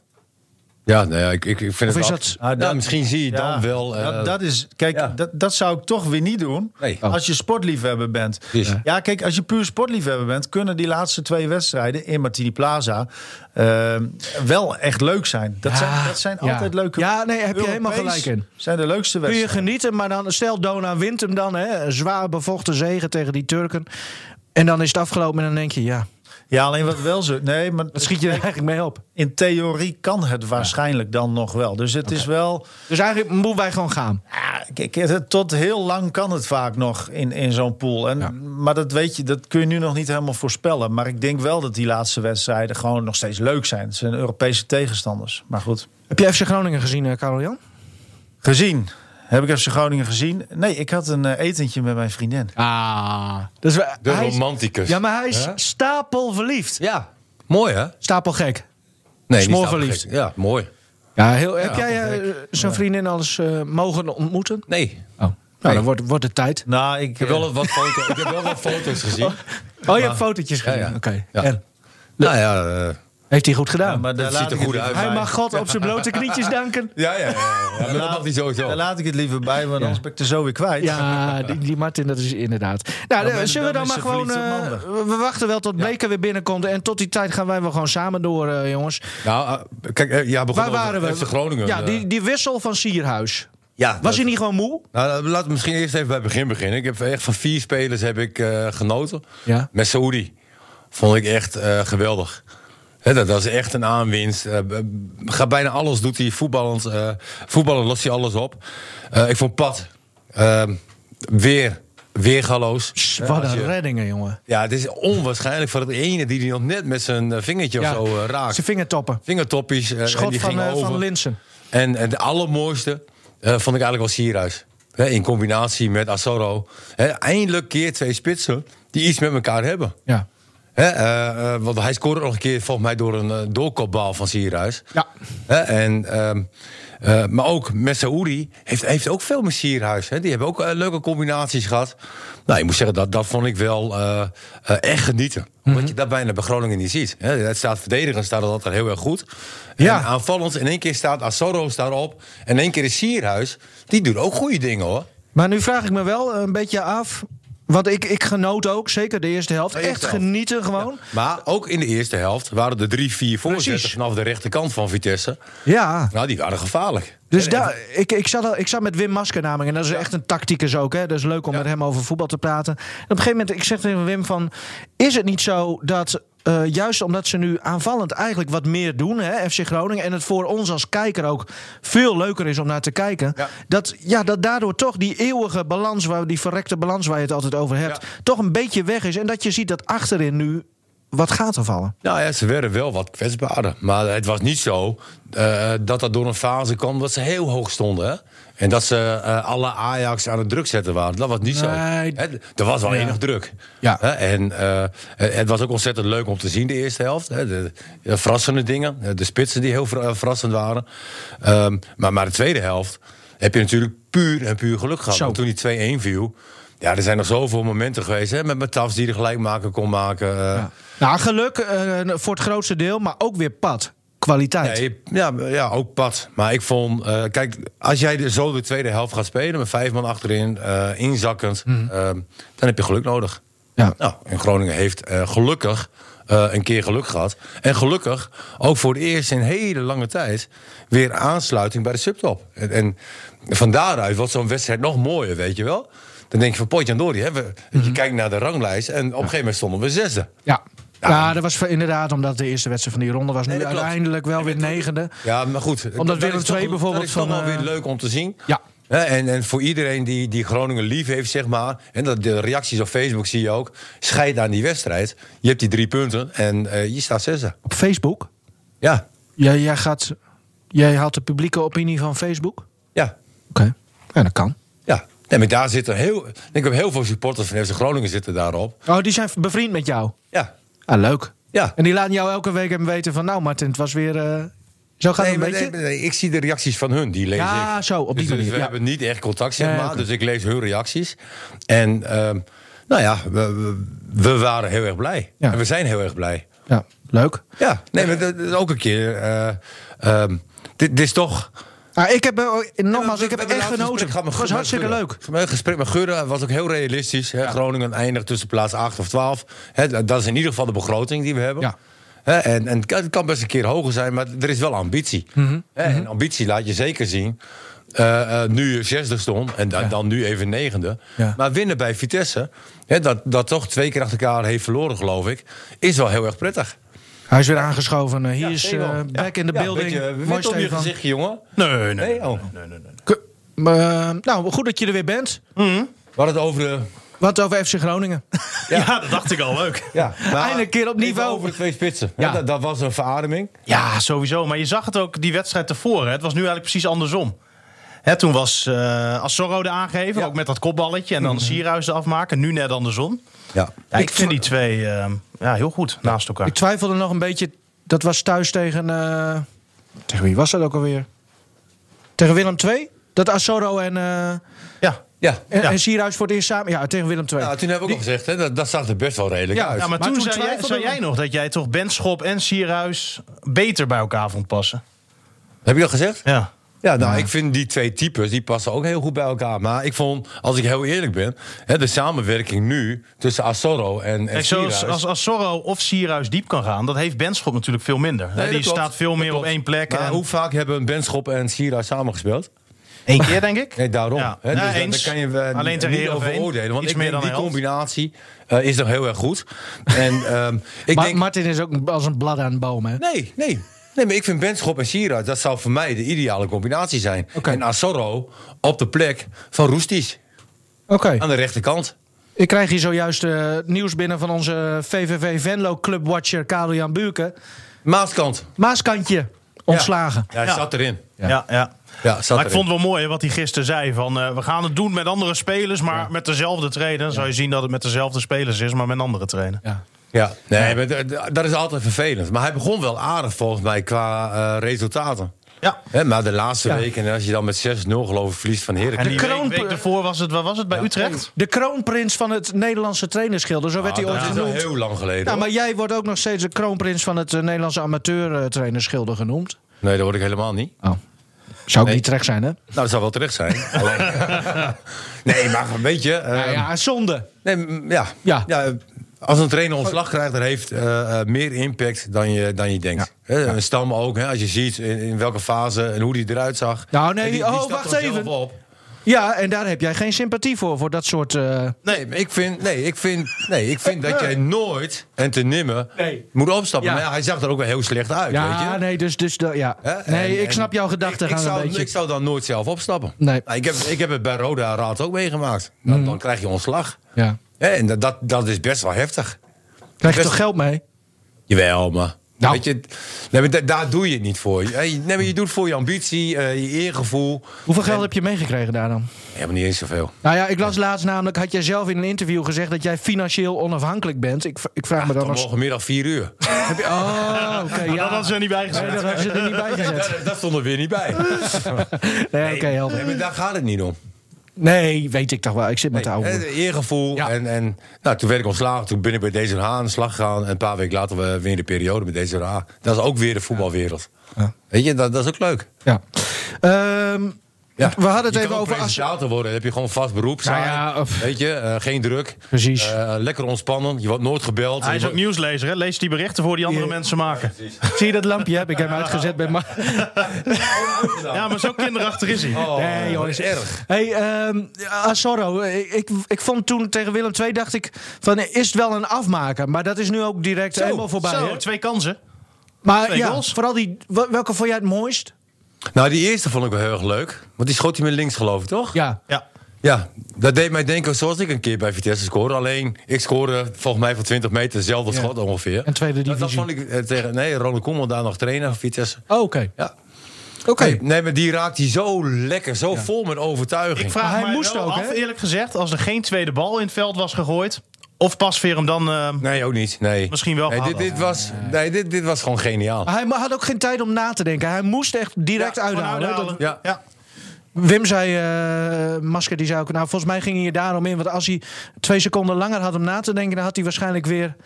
D: ja, nou ja ik, ik, ik vind
A: Of
D: het
A: is
D: wel-
A: dat-
E: Ah,
D: Nou,
E: dat-
D: misschien zie je
E: Ja,
D: dan wel... eh,
E: dat, dat is, kijk,
D: ja.
E: dat, dat zou ik toch weer niet doen.
D: Nee.
A: Oh.
E: Als je sportliefhebber bent.
D: Precies.
E: Ja, kijk, als je puur sportliefhebber bent, kunnen die laatste twee wedstrijden in Martini Plaza eh, wel echt leuk zijn. Dat zijn, dat zijn
A: ja.
E: altijd leuke
A: Ja, nee, heb je
E: Europees
A: helemaal gelijk in.
E: Zijn de leukste
A: Kun je
E: wedstrijden.
A: genieten, maar dan stel Dona wint hem dan. Hè, een zwaar bevochten zege tegen die Turken. En dan is het afgelopen en dan denk je, ja,
E: Ja, alleen wat wel zo. Nee, maar
A: wat schiet je er eigenlijk mee op?
E: in theorie kan het waarschijnlijk dan nog wel. Dus het is wel.
A: Dus eigenlijk moeten wij gewoon gaan.
E: Ja, Ah, kijk, het- tot heel lang kan het vaak nog in, in zo'n pool. En, Maar dat weet je, dat kun je nu nog niet helemaal voorspellen. Maar ik denk wel dat die laatste wedstrijden gewoon nog steeds leuk zijn. Het zijn Europese tegenstanders. Maar goed.
A: Heb je FC Groningen gezien, eh, Karel-Jan?
E: Gezien. Heb ik FC Groningen gezien? Nee, ik had een eh, etentje met mijn vriendin.
A: Ah. Dus we,
D: de
A: hij is-
D: romanticus.
A: Ja, maar hij is stapelverliefd.
D: Ja, mooi hè?
A: Stapelgek.
D: Nee, niet
A: Smoorverliefd.
D: afgekeken. Ja, mooi.
A: Ja, heel, heb
D: Ja,
A: jij eh, zijn vriendin alles eh, mogen ontmoeten?
D: Nee, ik
A: Oh. Nou, dan wordt, wordt het tijd.
E: Nou, ik,
D: heb wel wat foto's, ik heb wel wat
A: [laughs]
D: foto's gezien.
A: Oh, je hebt fotootjes
D: Ja,
A: gezien.
D: ja.
A: Oké.
D: Ja.
A: En?
D: Nou ja, eh,
A: Heeft hij goed gedaan?
E: maar daar
D: Het
E: laat
D: ziet er
E: ik het
D: goed
E: liever
D: uit.
A: hij
E: bij.
A: mag God op zijn blote knietjes danken.
D: ja, ja, ja, ja, ja, maar [laughs] dat mag niet
E: Daar
D: sowieso.
E: laat ik het liever bij, want anders ben ik er zo weer kwijt.
A: [laughs] Ja, die, die Martin, dat is inderdaad. Nou, eh,
E: ben-
A: zullen we
E: dan
A: dan
E: is
A: maar
E: ze
A: gewoon...
E: verliefd op
A: eh,
E: maandag.
A: we we wachten wel tot Bleker weer binnenkomt. En tot die tijd gaan wij wel gewoon samen door, eh, jongens.
D: Nou, eh, kijk, eh, ja, begon
A: Waar waren we?
D: FC Groningen.
A: Ja,
D: eh,
A: die, die wissel van Sierhuis.
D: ja,
A: Was
D: dat-
A: hij niet gewoon moe?
D: Nou, laten we misschien eerst even bij het begin beginnen. Ik heb echt van vier spelers heb ik eh, genoten.
A: Ja.
D: Met Saoedi vond ik echt eh, geweldig. Hè, dat, dat is echt een aanwinst. Eh, b- gaat bijna alles doet hij. Voetballend, eh voetballend lost hij alles op. Eh, ik vond Pat ehm, weer, weer galoos.
A: Pss,
D: Ja,
A: Wat
D: als
A: een
D: je-
A: reddingen, jongen.
D: Ja, het is onwaarschijnlijk voor het ene die hij nog net met zijn eh, vingertje
A: Ja,
D: of zo eh, raakt.
A: Zijn vingertoppen.
D: Vingertoppies. eh, en
A: Schot
D: die
A: van,
D: gingen
A: eh,
D: over.
A: van Linsen.
D: En het allermooiste eh, vond ik eigenlijk wel Sierhuis. Hè, in combinatie met Asoro. Hè, eindelijk keer twee spitsen die iets met elkaar hebben.
A: Ja.
D: Hè, eh, eh, want hij scoorde nog een keer volgens mij door een eh, doorkopbal van Sierhuis.
A: Ja.
D: Hè, en, ehm, eh, maar ook met Saoedi heeft, heeft ook veel met Sierhuis. Hè. Die hebben ook eh, leuke combinaties gehad. Nou, ik moet zeggen, dat, dat vond ik wel eh, eh, echt genieten.
A: Mhm.
D: Omdat je dat bijna bij Groningen niet ziet. Hè. Het staat verdedigend, staat dat altijd heel erg goed.
A: Ja.
D: En aanvallend, in één keer staat Asoro daarop. En in één keer is Sierhuis. Die doet ook goede dingen hoor.
A: Maar nu vraag ik me wel eh, een beetje af. Want ik, ik genoot ook, zeker de eerste helft.
D: De
A: Echt
D: eerste helft.
A: genieten gewoon.
D: Maar ook in de eerste helft waren er drie, vier voorzetten
A: Precies.
D: vanaf de rechterkant van Vitesse.
A: Ja.
D: Nou, die waren gevaarlijk.
A: Dus daar, ik, ik, zat, al- ik zat met Wim Maskernaming. En dat is echt een tacticus ook. Hè? Dat is leuk om met hem over voetbal te praten. En op een gegeven moment, ik zeg tegen Wim van... Is het niet zo dat... eh, juist omdat ze nu aanvallend eigenlijk wat meer doen, hè, FC Groningen... en het voor ons als kijker ook veel leuker is om naar te kijken...
D: Ja.
A: Dat, ja, dat daardoor toch die eeuwige balans, waar, die verrekte balans waar je het altijd over hebt...
D: Ja.
A: toch een beetje weg is. En dat je ziet dat achterin nu wat gaat er vallen.
D: Nou ja, ze werden wel wat kwetsbaarder. Maar het was niet zo eh, dat dat door een fase kwam dat ze heel hoog stonden. Hè? En dat ze eh, alle Ajax aan het druk zetten waren. Dat was niet zo.
A: Nee.
D: Hè, er was wel enig druk.
A: Ja.
D: Hè, en eh, het was ook ontzettend leuk om te zien, de eerste helft. Hè? De, de verrassende dingen. De spitsen die heel ver- eh, verrassend waren. Ehm, maar, maar de tweede helft heb je natuurlijk puur en puur geluk gehad.
A: Zo.
D: Want toen die 2-1 viel... Ja, er zijn nog zoveel momenten geweest. Hè? Met Matafs die de gelijkmaker kon maken. eh,
A: Nou, geluk eh, voor het grootste deel, maar ook weer pad. Kwaliteit.
D: Nee, ja, ja, ook pad. Maar ik vond, eh, kijk, als jij de- zo de tweede helft gaat spelen met vijf man achterin, eh, inzakkend, ehm, dan heb je geluk nodig.
A: Mhm. Ja.
D: Nou, en Groningen heeft eh, gelukkig eh, een keer geluk gehad. En gelukkig ook voor het eerst in hele lange tijd weer aansluiting bij de subtop. En, en van daaruit wordt zo'n wedstrijd nog mooier, weet je wel. Dan denk je van potje aan Dori, hè, we-
A: Mhm.
D: je kijkt naar de ranglijst en op een gegeven moment stonden we zesde.
A: Ja. Ja, dat was voor- inderdaad omdat de eerste wedstrijd van die ronde was. Nu
D: Nee, dat klopt.
A: uiteindelijk wel weer negende.
D: Ja, maar goed.
A: Omdat
D: dat
A: Willem
D: is toch-
A: II bijvoorbeeld
D: Dat is toch
A: van,
D: wel weer
A: eh,
D: leuk om te zien.
A: Ja.
D: Hè, En, en voor iedereen die, die Groningen lief heeft, zeg maar. En dat, de reacties op Facebook zie je ook. Scheid aan die wedstrijd. Je hebt die drie punten en eh, je staat zesde.
A: Op Facebook?
D: Ja,
A: Jij, jij, gaat, jij haalt de publieke opinie van Facebook? Oké.
D: ja,
A: Ja, dat kan.
D: ja. Nee, maar daar zitten heel. Ik heb heel veel supporters van FC Groningen zitten daarop.
A: Oh, die zijn bevriend met jou?
D: Ja,
A: Ah, leuk.
D: ja.
A: En die laten jou elke week even weten van... Nou Martin, het was weer... eh, zo gaat
D: Nee,
A: het
D: maar
A: een beetje.
D: nee, nee, ik zie de reacties van hun, die lees ik.
A: Ja, zo, op die
D: dus, dus
A: manier,
D: we
A: ja.
D: hebben niet echt contact, zeg
A: Ja,
D: maar.
A: oké.
D: Dus ik lees hun reacties. En ehm, nou ja, we, we, we waren heel erg blij.
A: Ja.
D: En we zijn heel erg blij.
A: Ja, leuk.
D: Ja, nee, maar dat, dat ook een keer. eh, ehm, dit, dit is toch...
A: Ah, ik heb, eh, nogmaals,
D: We-
A: ik heb
D: we hebben
A: echt
D: laatst een
A: genoten.
D: gesprek gehad met
A: Het was
D: Geur-
A: hartstikke
D: met
A: leuk.
D: Geur. Het gesprek met Gudde was ook heel realistisch. Hè? Groningen eindigt tussen plaats 8 of 12. Hè, dat is in ieder geval de begroting die we hebben.
A: Ja.
D: Hè, en, en het kan- het kan best een keer hoger zijn, maar er is wel ambitie.
A: Mhm.
D: Hè, En ambitie laat je zeker zien. Eh, eh, nu je zesde stond en dan, dan nu even negende.
A: Ja.
D: Maar winnen bij Vitesse, hè, dat, dat toch twee keer achter elkaar heeft verloren, geloof ik, is wel heel erg prettig.
A: Hij is weer aangeschoven. Eh, Hier is eh,
D: Stefan.
A: back in the
D: Ja,
A: building.
D: weet je, wit
A: Mooi,
D: om je
A: Stefan.
D: gezichtje, jongen.
B: Nee, nee, nee.
D: Nee, oh.
B: nee, nee, nee.
A: K- eh, nou, goed dat je er weer bent.
D: We hadden het over de
A: Wat over FC Groningen.
B: Ja. dat dacht ik al, leuk.
D: Ja,
A: Eindelijk een keer op
D: even
A: niveau.
D: Over de twee spitsen.
A: Ja.
D: Ja. Dat, dat was een verademing.
B: Ja, sowieso. Maar je zag het ook die wedstrijd tevoren. hè. Het was nu eigenlijk precies andersom. Hè, toen was eh Assorro de aangever,
D: Ja. Mhm.
B: ook met dat kopballetje. En dan Sierhuis de afmaken. Nu net andersom.
D: Ja.
B: Ja, ik,
A: Ik
B: vind
A: vond-
B: die twee ehm, ja, heel goed naast elkaar.
A: Ik twijfelde nog een beetje. Dat was thuis tegen... eh, tegen wie was dat ook alweer? Tegen Willem II? Dat Asoro en, eh en,
B: ja.
D: Ja.
B: Ja.
A: en Sierhuis voor het eerst samen... Ja, tegen Willem II.
D: Nou, toen hebben we ook al gezegd, hè, dat, dat zag er best wel redelijk
A: Ja,
D: uit.
B: ja, maar,
A: Maar
B: toen,
A: toen
B: zei, jij,
A: twijfelde
B: zei
A: we-
B: jij nog dat jij toch Benschop en Sierhuis beter bij elkaar vond passen.
D: Heb je dat gezegd?
B: Ja.
D: Ja, nou, ik vind die twee types, die passen ook heel goed bij elkaar. Maar ik vond, als ik heel eerlijk ben, hè, de samenwerking nu tussen Asoro en, en
B: Kijk, zoals
D: Sierhuis-
B: als Assorro of Sierhuis diep kan gaan, dat heeft Benschop natuurlijk veel minder. hè.
D: Nee, dat
B: die
D: klopt.
B: staat veel
D: Dat
B: meer op
D: klopt.
B: één plek.
D: Maar
B: en-
D: hoe vaak hebben Benschop en Sierhuis samengespeeld?
B: Eén keer, denk ik.
D: Nee, daarom.
B: Ja.
D: Hè,
B: Ja,
D: dus
B: eens.
D: Daar kan je eh,
B: Alleen ter
D: niet
B: ere
D: over
B: van één.
D: oordelen. Want
B: Iets
D: ik
B: meer
D: denk, die
B: dan de helft.
D: combinatie eh, is nog heel erg goed. En ehm, ik
A: maar
D: denk...
A: Martin is ook als een blad aan een boom, hè?
D: Nee, nee. Nee, maar ik vind Benschop en Sierra, dat zou voor mij de ideale combinatie zijn.
A: Oké.
D: En Asoro op de plek van Roesties,
A: Oké.
D: aan de rechterkant.
A: Ik krijg hier zojuist eh, nieuws binnen van onze VVV Venlo Clubwatcher Karel-Jan Buurken.
D: Maaskant.
A: Maaskantje, ontslagen.
D: [laughs] Ja, hij
B: Ja.
D: zat erin.
B: Ja, ja.
D: Ja, zat
B: maar
D: erin.
B: ik vond het wel mooi hè, wat hij gisteren zei. Van, eh, we gaan het doen met andere spelers, maar met dezelfde trainer. Dan zou je zien dat het met dezelfde spelers is, maar met een andere trainer.
A: Ja.
D: Ja, nee, maar d- d- dat is altijd vervelend. Maar hij begon wel aardig volgens mij qua eh, resultaten.
B: Ja.
D: Hè, maar de laatste
A: Ja.
D: weken, en als je dan met 6-0 geloof ik verliest van
B: En
D: Heracles.
B: die
A: kroon-
B: week, week daarvoor was het, waar was het, bij Utrecht?
A: De kroonprins van het Nederlandse trainerschilder, zo werd hij
D: dat
A: ooit
D: is al
A: genoemd.
D: heel lang geleden.
A: Ja,
D: hoor.
A: maar jij wordt ook nog steeds de kroonprins van het eh, Nederlandse amateur eh, trainerschilder genoemd.
D: Nee, dat hoor ik helemaal niet.
A: Oh. Zou ik
D: Nee.
A: niet terecht zijn, hè?
D: Nou, dat zou wel terecht
A: [laughs]
D: zijn. Alleen- [laughs] nee, maar weet je... eh,
A: Nou ja, zonde.
D: Nee, m- ja.
A: Ja.
D: Ja. eh, Als een trainer ontslag krijgt, dat heeft eh, eh, meer impact dan je, dan je denkt. Hè, Een stam ook, hè, als je ziet in, in welke fase en hoe die eruit zag.
A: Nou, nee,
D: En
A: oh,
D: stapt
A: wacht
D: dan zelf
A: even.
D: Op.
A: Ja, en daar heb jij geen sympathie voor, voor dat soort... eh,
D: Nee, maar ik vind, nee, ik vind, nee, ik vind dat jij nooit en te nimmer
A: Nee.
D: moet opstappen.
A: Ja.
D: Maar ja, hij zag er ook wel heel slecht uit, weet je.
A: ja, nee, dus... dus dat- ja.
D: Hè,
A: Nee,
D: en-
A: ik snap
D: en
A: jouw
D: ik,
A: gedachten
D: ik
A: gaan
D: zou,
A: een beetje.
D: Ik zou dan nooit zelf opstappen.
A: Nee. Mm.
D: Nou, ik, heb, ik heb het bij Roda Raad ook meegemaakt. Dan, dan krijg je ontslag.
A: Ja.
D: Hè, En dat, dat, dat is best wel heftig.
A: Krijg je
D: Best-
A: toch geld mee?
D: Jawel, maar.
A: Nou.
D: Weet je, nee, maar da- daar doe je het niet voor. Hey, Nee, maar je doet het voor je ambitie, eh, je eergevoel.
A: Hoeveel geld heb je meegekregen daar dan?
D: Helemaal niet eens zoveel.
A: Nou ja, ik las laatst namelijk, had jij zelf in een interview gezegd dat jij financieel onafhankelijk bent. Ik, v- ik vraag me dan
D: Dan
A: als...
D: morgenmiddag vier
A: [laughs]
D: uur.
A: Heb je, oh,
D: [laughs]
A: oké,
B: Maar dat
A: ja.
B: hadden ze er niet bij
A: Nee,
B: gezet.
A: dat had ze er niet bij gezet.
D: dat, dat stond er weer niet
A: [laughs]
D: bij.
A: Nee, oké, helder.
D: Nee, maar daar gaat het niet om.
A: Nee, weet ik toch wel. Ik zit met de
D: Hè,
A: oude.
D: het eergevoel.
A: Ja.
D: En, en nou, toen werd ik ontslagen. Toen ben ik bij deze Haan aan de slag gegaan. En een paar weken later we weer in de periode met deze Haan. Dat is ook weer de voetbalwereld.
A: Ja.
D: Weet je, dat, dat is ook leuk.
A: Ja. Ehm,
D: Ja.
A: We hadden het
D: Je
A: even
D: kan ook
A: over As-
D: presentator worden. Dan heb je gewoon vast beroep.
A: Nou
D: saai.
A: ja, of-
D: Weet je, eh, geen druk.
A: Precies.
D: Eh, lekker ontspannen. Je wordt nooit gebeld.
B: Hij is
D: Je
B: ook nieuwslezer, hè? leest die berichten voor die andere
A: Ja.
B: mensen maken.
A: zie je dat lampje? Heb ik hem uitgezet
D: [laughs]
A: bij Ma-
D: wordt-
B: Ja, maar zo kinderachtig is hij.
A: Oh. Nee, joh,
D: dat is erg.
A: Hey, ehm Asoro, ik, ik, ik vond toen tegen Willem II, dacht ik, van is het wel een afmaker? Maar dat is nu ook direct helemaal voorbij.
B: Zo,
A: hè?
B: twee kansen.
A: Maar
B: twee
A: ja,
B: goals.
A: vooral die, wel- welke vond jij het mooist?
D: Nou, die eerste vond ik wel heel erg leuk. Want die schoot hij met links, geloof ik, toch?
A: Ja.
B: Ja.
D: Ja, dat deed mij denken zoals ik een keer bij Vitesse scoorde. Alleen, ik scoorde volgens mij van 20 meter hetzelfde
A: Ja.
D: schot ongeveer.
A: En tweede
D: Dat, dat
A: divisie.
D: vond ik eh, tegen... Nee, Ronald Koeman daar nog trainer van Vitesse.
A: Oh, Oké.
D: Ja.
A: Oké.
D: Nee, nee, maar die raakt hij zo lekker, zo vol met overtuiging.
B: Ik vraag
A: hij
B: mij
A: moest
B: wel
A: ook,
B: af,
A: hè?
B: eerlijk gezegd, als er geen tweede bal in het veld was gegooid... of Pasveer hem dan... eh,
D: Nee, ook niet. Nee.
B: Misschien wel
D: Nee, dit,
B: gehad
D: dit, was, nee dit, dit was gewoon geniaal.
A: Maar Hij ma- had ook geen tijd om na te denken. Hij moest echt direct
B: Ja, gewoon
A: uithalen.
B: uithalen.
A: Dat-
D: Ja.
B: Ja.
A: Wim zei, eh, Masker, die zei ook... Nou, volgens mij ging hij daarom in. Want als hij twee seconden langer had om na te denken... dan had hij waarschijnlijk weer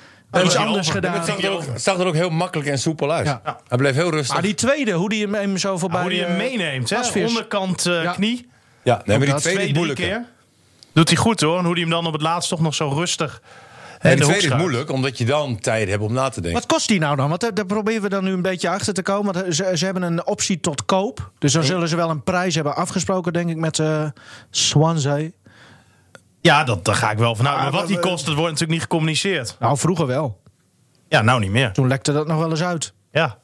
A: iets
B: hij
A: anders
B: over.
D: Maar
A: gedaan.
D: het zag er, ook, het zag er ook heel makkelijk en soepel uit. Hij bleef heel rustig.
A: Maar die tweede, hoe die hem, hem zo voorbij...
B: Hoe hij hem
A: eh,
B: meeneemt, hè?
A: Pasveer.
B: Onderkant eh,
A: Ja.
B: knie.
D: ja, nee, maar die
A: dat
D: tweede is
B: Twee, drie
D: moeilijk.
B: keer. Doet hij goed, hoor. En hoe hij hem dan op het laatst toch nog zo rustig... eh,
D: En die
B: in de hoek
D: tweede is
B: schuift.
D: moeilijk, omdat je dan tijd hebt om na te denken.
A: Wat kost die nou dan? Want daar, daar proberen we dan nu een beetje achter te komen. Want ze, ze hebben een optie tot koop. Dus dan zullen ze wel een prijs hebben afgesproken, denk ik, met eh, Swansea.
B: Ja, dat, daar ga ik wel vanuit.
A: Ah,
B: Maar wat die
A: we- we-
B: kost, dat wordt natuurlijk niet gecommuniceerd.
A: Nou, vroeger wel.
B: Ja, nou niet meer.
A: Toen lekte dat nog wel eens uit. [laughs]
B: Ja.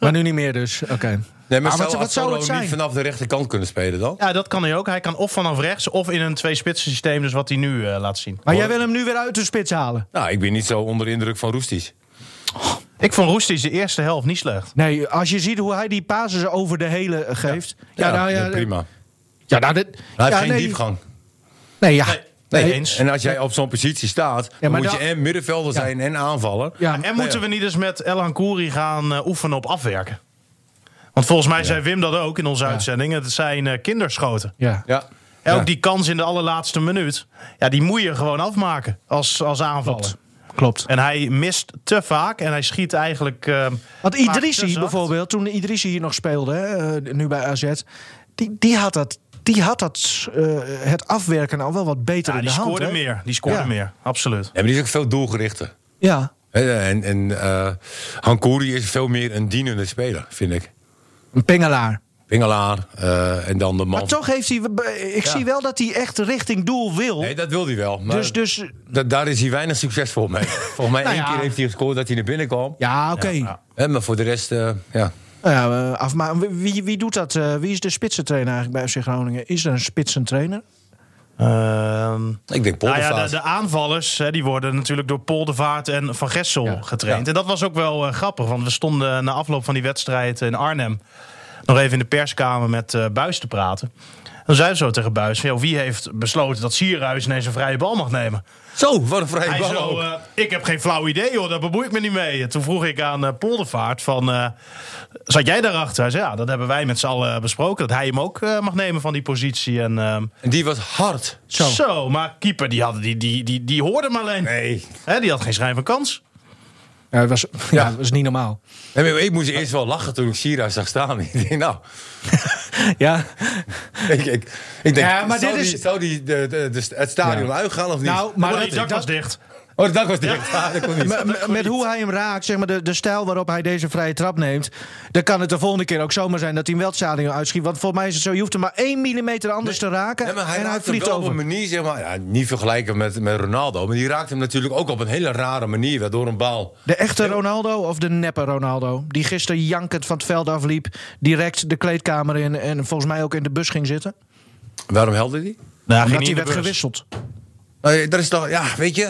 A: Maar nu niet meer dus. Oké.
D: Nee, maar
A: Ah,
D: zou
A: wat- wat zou
D: Assolo
A: het zijn?
D: niet vanaf de rechterkant kunnen spelen dan?
B: ja, dat kan hij ook. Hij kan of vanaf rechts of in een twee-spitsen systeem. Dus wat hij nu eh, laat zien.
A: Maar jij wil hem nu weer uit de spits halen?
D: Nou, ik ben niet zo onder de indruk van Roesties.
B: Ik vond Roestic de eerste helft niet slecht.
A: Nee, als je ziet hoe hij die pases over de hele eh, geeft. Ja, nou ja.
D: prima.
A: Ja, nou, dit,
D: Hij
A: ja,
D: heeft geen
A: nee,
D: diepgang.
A: Nee, ja.
B: Nee.
D: Nee,
B: Nee, eens.
D: En als jij op zo'n positie staat, dan
A: maar
D: moet
A: dan-
D: je en middenvelder zijn en aanvaller.
A: Ja,
B: En
A: maar-
B: moeten we niet eens met Elhan Kouri gaan eh, oefenen op afwerken? Want volgens mij zei Wim dat ook in onze uitzending. Het zijn eh, kinderschoten.
A: ja.
D: Ja.
B: En ook
D: Ja.
B: die kans in de allerlaatste minuut. Ja, die moet je gewoon afmaken als, als aanvaller.
A: Klopt.
B: En hij mist te vaak. En hij schiet eigenlijk... eh,
A: Want
B: vaak te
A: Idrissi
B: zacht.
A: bijvoorbeeld, toen Idrissi hier nog speelde, hè, eh, nu bij AZ, die, die had dat, die had dat eh, het afwerken al wel wat beter
B: Ja,
A: in de
B: die
A: hand.
B: scoorde
A: hè?
B: meer. Die scoorde
A: Ja.
B: meer. Absoluut.
D: Ja, maar die is ook veel doelgerichter.
A: Ja.
D: Hè, En, en eh Hankouri is veel meer een dienende speler, vind ik.
A: Een pingelaar.
D: Pingelaar eh, en dan de man.
A: Maar toch heeft hij. Ik zie wel dat hij echt richting doel wil.
D: Nee, dat wil hij wel. Maar
A: dus, dus.
D: da- daar is hij weinig succesvol mee.
A: [laughs]
D: Volgens mij één
A: ja.
D: keer heeft hij gescoord dat hij naar binnen kwam.
A: Ja, oké.
B: ja.
D: Hè, maar voor de rest, eh, ja.
A: Nou ja, eh, afma- wie, wie doet dat? eh? wie is de spitsentrainer eigenlijk bij FC Groningen? Is er een spitsentrainer?
B: Ehm,
D: Ik denk
B: Nou
D: Poldervaart.
B: ja, de, de aanvallers hè, die worden natuurlijk door Poldervaart en Van Gessel getraind. En dat was ook wel eh, grappig, want we stonden na afloop van die wedstrijd in Arnhem... nog even in de perskamer met eh Buis te praten. Dan zei ze zo tegen Buis, van, "Yo, wie heeft besloten dat Sierhuis ineens een vrije bal mag nemen?
D: Zo, wat een vrije
B: Hij
D: bal
B: zo,
D: ook.
B: eh, ik heb geen flauw idee hoor, daar bemoei ik me niet mee. En toen vroeg ik aan eh, Poldervaart van, eh, zat jij daarachter? Hij zei, ja, dat hebben wij met z'n allen besproken. Dat hij hem ook eh, mag nemen van die positie. En, ehm,
D: En die was hard.
B: zo. maar keeper die, had, die, die, die, die hoorde hem alleen.
D: Nee.
B: Hè, die had geen schijn van kans.
A: Ja, dat was, ja. dat was niet normaal.
D: Nee, maar ik moest eerst wel lachen toen ik Sierra zag staan. [laughs] Ik denk, nou,
A: Ja.
D: ik, ik, ik denk,
A: Ja, maar
D: zou,
A: dit
D: die,
A: is-
D: zou die de, de, de- het stadion uitgaan of niet?
A: Nou,
B: Maar
A: Maar
B: oh,
A: dat-
B: die dak
A: dat-
B: was dicht.
D: oh, de dak was dicht. Ja. dat kon niet.
A: M- m- met hoe hij hem raakt, zeg maar de, de stijl waarop hij deze vrije trap neemt. Dan kan het de volgende keer ook zomaar zijn dat hij hem wel het stadion uitschiet. Want volgens mij is het zo, je hoeft hem maar 1 millimeter anders te raken.
D: Nee, maar hij
A: en hij
D: raakt hem
A: vliegt
D: wel op
A: over.
D: een manier, zeg maar. Ja, niet vergelijken met, met Ronaldo. Maar die raakt hem natuurlijk ook op een hele rare manier. weer Door een bal.
A: De echte Ronaldo of de neppe Ronaldo? Die gisteren jankend van het veld afliep. Direct de kleedkamer in en volgens mij ook in de bus ging zitten.
D: Waarom helde die?
B: Nou,
A: Omdat hij werd gewisseld.
D: Nou, ja, dat is toch, ja, weet je,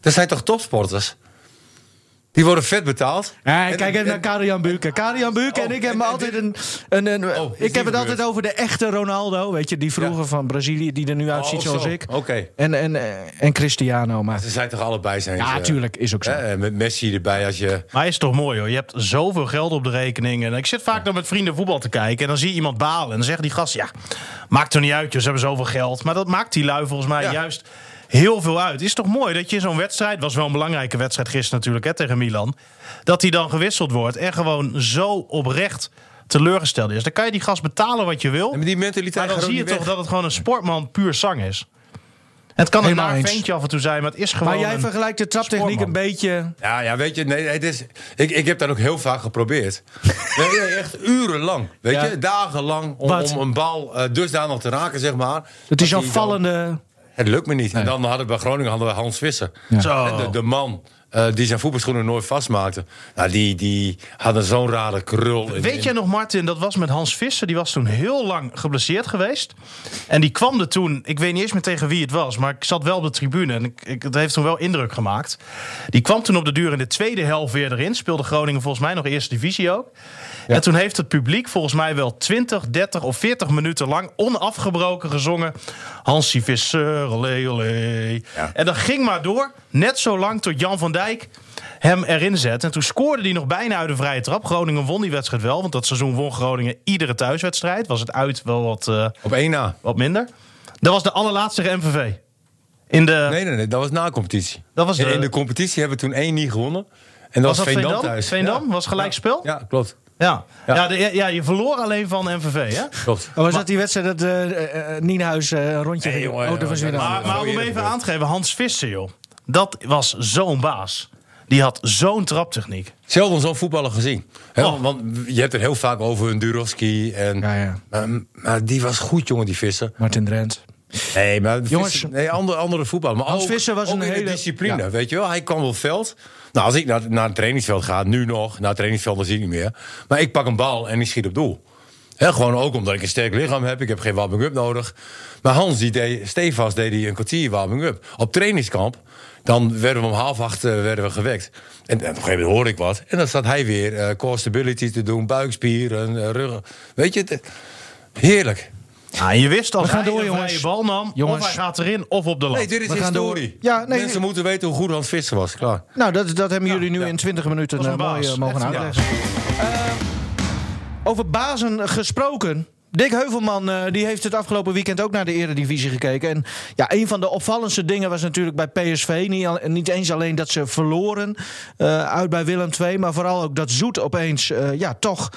D: dat zijn toch topsporters? Die worden vet betaald.
A: Ja,
D: En-
A: ik kijk even
D: en-
A: naar Karian Buurken. Karian Buurken en
D: Oh,
A: ik hebben
D: en-
A: altijd
D: en
A: een... een, een
D: Oh, is
A: ik
D: die
A: heb het altijd
D: gebeurd?
A: over de echte Ronaldo. Weet je, die vroeger
D: Ja.
A: van Brazilië, die er nu uitziet
D: Oh,
A: zoals
D: zo.
A: ik.
D: Oké.
A: En, en, eh, en Cristiano, maar...
D: Ze zijn toch allebei zijn
A: Ja,
D: ze,
A: tuurlijk, is ook zo.
D: hè, en met Messi erbij als je...
B: Maar hij is toch mooi hoor. Je hebt zoveel geld op de rekening. En ik zit vaak dan met vrienden voetbal te kijken. En dan zie je iemand balen. En dan zeggen die gast, ja, maakt toch niet uit. joh, Ze hebben zoveel geld. Maar dat maakt die lui volgens mij
D: Ja.
B: juist heel veel uit. Is toch mooi dat je zo'n wedstrijd... was wel een belangrijke wedstrijd gisteren natuurlijk hè, tegen Milan. Dat die dan gewisseld wordt. En gewoon zo oprecht teleurgesteld is. Dan kan je die gast betalen wat je wil.
D: En met die mentaliteit
B: Maar dan
D: gaat ook
B: zie je
D: niet
B: toch
D: weg.
B: dat het gewoon een sportman puur zang is. Het kan een
A: Helemaal
B: naar
A: eens.
B: ventje af en toe zijn, maar het is gewoon...
A: Maar jij
B: een-
A: vergelijkt de traptechniek een
B: sportman.
A: beetje...
D: Ja, ja, weet je, nee, het is, ik, ik heb dat ook heel vaak
A: [laughs]
D: geprobeerd. Nee, nee, echt urenlang, weet
A: Ja.
D: je, dagenlang om,
A: Wat?
D: om een bal eh, dusdanig te raken, zeg maar.
A: Het is
D: Dat
A: zo'n
D: die dan-
A: vallende... Oh.
D: Het lukt me niet. En dan hadden we bij Groningen hadden we Hans Visser.
B: Zo.
D: De, de man eh, die zijn voetbalschoenen nooit vastmaakte. Nou, die, die hadden zo'n rare krul. in-
B: Weet
D: in-
B: jij nog, Martin, dat was met Hans Visser. Die was toen heel lang geblesseerd geweest. En die kwam er toen, ik weet niet eens meer tegen wie het was... maar ik zat wel op de tribune en ik, ik, het heeft toen wel indruk gemaakt. Die kwam toen op de duur in de tweede helft weer erin. Speelde Groningen volgens mij nog eerste divisie ook. En toen heeft het publiek volgens mij wel 20, 30 of 40 minuten lang... onafgebroken gezongen. Hansie Visser, olé, olé. En dat ging maar door, net zo lang tot Jan van Dijk hem erin zet. En toen scoorde hij nog bijna uit de vrije trap. Groningen won die wedstrijd wel, want dat seizoen won Groningen iedere thuiswedstrijd. Was het uit wel wat, eh,
D: Op één na.
B: wat minder. Dat was de allerlaatste tegen MVV. In de,
D: Nee, nee, nee, dat was na competitie.
B: Dat was
D: in,
B: de-
D: in de competitie hebben we toen één niet gewonnen. En dat was,
B: was dat
D: Veendam,
B: Veendam?
D: thuis.
B: Veendam? Was gelijkspel?
D: Ja, ja, klopt.
B: Ja. Ja.
D: Ja.
B: de- ja, je verloor alleen van MVV, hè?
D: klopt.
A: Oh, was dat die wedstrijd dat eh eh, eh, Nienhuis eh, een rondje
D: Nee,
A: ging doen?
D: jongen,
A: Oh, dat was weer een
D: jongen,
B: eh,
A: ander.
B: Maar, maar om hem even aan te geven, Hans Visser, joh. Dat was zo'n baas. Die had zo'n traptechniek.
D: Zelden zo'n voetballer gezien. Hè,
B: Oh.
D: Want je hebt er heel vaak over een Durovski. En,
A: Ja, ja.
D: Maar, maar die was goed, jongen, die Visser.
A: Martin Drent.
D: Nee, maar
A: Jongens.
D: Visser- nee, andere, andere voetballer. Maar
A: Hans
D: ook,
A: Visser was
D: ook
A: een
D: in de
A: hele-
D: discipline,
A: Ja.
D: weet je wel. Hij kwam op veld. Nou, als ik naar, naar het trainingsveld ga, nu nog. Naar het trainingsveld, dan zie ik niet meer. Maar ik pak een bal en ik schiet op doel. Hè, gewoon ook omdat ik een sterk lichaam heb. Ik heb geen warming-up nodig. Maar Hans, die deed, stevast deed hij een kwartier warming-up. Op trainingskamp, dan werden we om half acht eh, werden we gewekt. En, en op een gegeven moment hoorde ik wat. En dan zat hij weer eh core stability te doen. Buikspieren, eh, rug. Weet je, het- heerlijk.
B: Nou, en je wist als
A: We gaan
B: hij
A: door,
B: een
A: jongens.
B: vrije bal nam,
A: Jongens.
B: of hij gaat erin of op de lat.
D: Nee, dit is
A: We gaan
D: historie.
A: door. Ja, nee,
D: Mensen
A: nee.
D: moeten weten hoe goed Hans Visser was. Klaar.
A: Nou, dat, dat hebben jullie nu in 20 minuten
B: was een
A: eh, mooi
B: baas.
A: eh, mogen
B: Echt een
A: uitleggen. Eh, over bazen gesproken. Dick Heuvelman eh, die heeft het afgelopen weekend ook naar de Eredivisie gekeken. En ja, een van de opvallendste dingen was natuurlijk bij PSV. Niet, al- niet eens alleen dat ze verloren eh, uit bij Willem II. Maar vooral ook dat Zoet opeens eh, ja, toch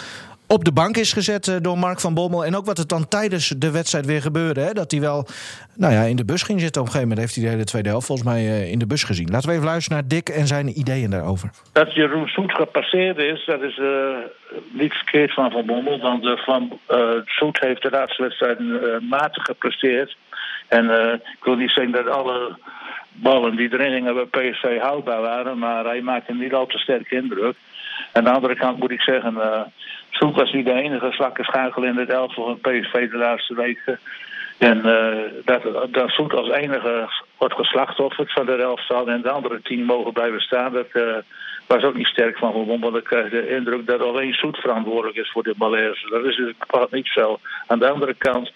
A: op de bank is gezet eh, door Mark van Bommel. En ook wat het dan tijdens de wedstrijd weer gebeurde. Hè? Dat hij wel nou ja, in de bus ging zitten. Op een gegeven moment heeft hij de hele tweede helft volgens mij eh, in de bus gezien. Laten we even luisteren naar Dick en zijn ideeën daarover.
F: Dat Jeroen Soet gepasseerd is, dat is eh, niet verkeerd van Van Bommel. Want eh, Van eh, Soet heeft de laatste wedstrijd eh, matig gepresteerd. En eh, ik wil niet zeggen dat alle ballen die erin gingen bij PSV houdbaar waren. Maar hij maakte niet al te sterk indruk. Aan de andere kant moet ik zeggen, eh Soet was niet de enige zwakke schakel in het elftal van PSV de laatste weken. En eh, dat, dat Soet als enige wordt geslachtofferd van de elftal en de andere tien mogen blijven staan, dat eh, was ook niet sterk van Van Bommel. Ik krijg de indruk dat alleen Soet verantwoordelijk is voor dit malaise. Dat is dus bepaald niet zo. Aan de andere kant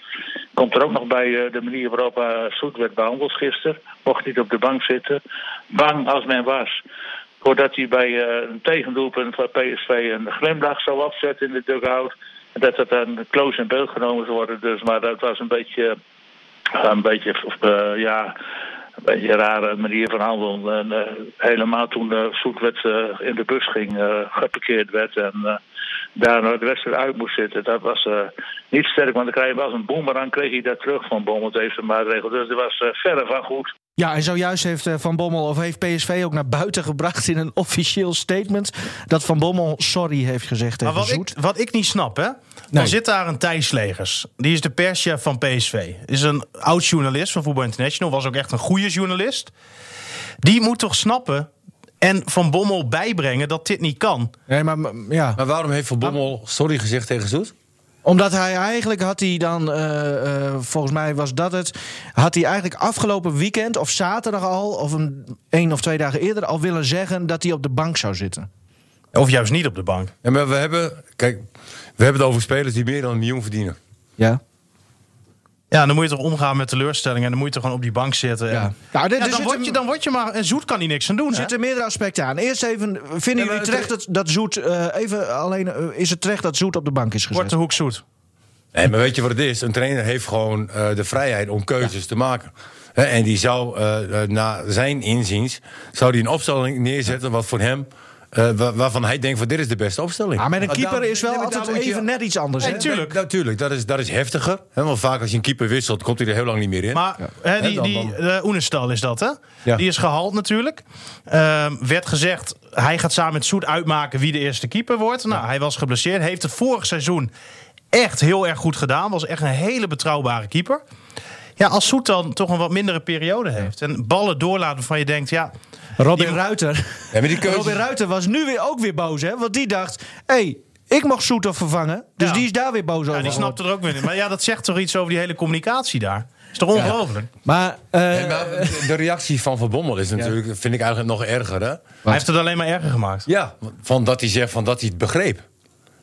F: komt er ook nog bij eh, de manier waarop eh, Soet werd behandeld gisteren. Mocht niet op de bank zitten. Bang als men was. Doordat hij bij eh, een tegendoelpunt van PSV een glimlach zou opzetten in de dugout. En dat dat dan close in beeld genomen zou worden. Dus, maar dat was een beetje, eh, een beetje, eh, ja, een beetje een rare manier van handelen. En, eh, helemaal toen eh Soet werd, eh, in de bus ging, eh, geparkeerd werd en eh, daarna de wedstrijd uit moest zitten. Dat was eh, niet sterk, want dan kreeg hij als een boemerang kreeg hij dat terug van Bommel deze maatregel. Dus dat was eh, verre van goed.
A: Ja, en zojuist heeft eh, Van Bommel of heeft PSV ook naar buiten gebracht in een officieel statement dat Van Bommel sorry heeft gezegd
B: Maar
A: tegen
B: wat
A: Zoet.
B: ik, wat ik niet snap, hè? Dan
A: Nee.
B: zit daar een Thijs Legers. Die is de perschef van PSV. Is een oud journalist van Voetbal International. Was ook echt een goede journalist. Die moet toch snappen en Van Bommel bijbrengen dat dit niet kan.
A: Nee, maar m- ja.
D: Maar waarom heeft Van
A: Ah.
D: Bommel sorry gezegd tegen Zoet?
A: Omdat hij eigenlijk had hij dan, eh, eh, volgens mij was dat het, had hij eigenlijk afgelopen weekend of zaterdag al, of een, één of twee dagen eerder al willen zeggen dat hij op de bank zou zitten.
B: Of juist niet op de bank.
D: Ja, maar we hebben, kijk, we hebben het over spelers die meer dan een miljoen verdienen.
A: Ja.
B: Ja, dan moet je toch omgaan met teleurstellingen. En dan moet je toch gewoon op die bank zitten. En-
A: Ja. Nou, dit-
B: Ja,
A: er
B: dan,
A: zit
B: word
A: een-
B: je, dan word je
A: eh,
B: maar... En Zoet kan hier niks aan doen,
A: Er
B: hè?
A: zitten meerdere aspecten aan. Eerst even, eh, vinden jullie
D: maar het-
A: terecht dat, dat Zoet, eh, even alleen, eh, is het terecht dat Zoet op de bank is
D: Dus
A: gezet?
B: Korte hoek Zoet.
D: Nee, maar weet je wat het is? Een trainer heeft gewoon eh, de vrijheid om keuzes te maken. Hè, en die zou, eh, eh, na zijn inziens, zou die een opstelling neerzetten wat voor hem, eh, wa- waarvan hij denkt van dit is de beste opstelling.
A: Ah, maar een
D: Maar
A: keeper
D: daar-
A: is wel
D: Nou, nee, maar daar
A: altijd
D: moet je-
A: even net iets anders.
B: Nee,
A: hè?
B: tuurlijk.
D: Natuurlijk, dat is, dat is heftiger. Hè, want vaak als je een keeper wisselt, komt hij er heel lang niet meer in.
B: Maar hè, die,
D: En dan-
B: die
D: dan-
B: eh, Oenestal is dat, hè?
D: Ja.
B: Die is gehaald natuurlijk. Ehm, werd gezegd, hij gaat samen met Soet uitmaken wie de eerste keeper wordt. Nou, hij was geblesseerd. Heeft het vorig seizoen echt heel erg goed gedaan. Was echt een hele betrouwbare keeper. Ja, als Soet dan toch een wat mindere periode heeft. En ballen doorlaten waarvan je denkt, ja...
A: Robin Ruiter.
D: Ja, maar die keuze-
A: Robin Ruiter was nu weer, ook weer boos, hè? Want die dacht, hé, hey, ik mocht Soethoff vervangen. Dus
B: Ja.
A: die is daar weer boos over.
B: Ja, die snapt er ook weer in. Maar ja, dat zegt toch iets over die hele communicatie daar. Is toch ongelooflijk?
A: Maar, eh,
D: Nee, maar de reactie van Van Bommel is natuurlijk, vind ik eigenlijk nog erger. Hè?
B: Hij heeft het alleen maar erger gemaakt.
D: Ja, van dat hij zegt van dat hij het begreep.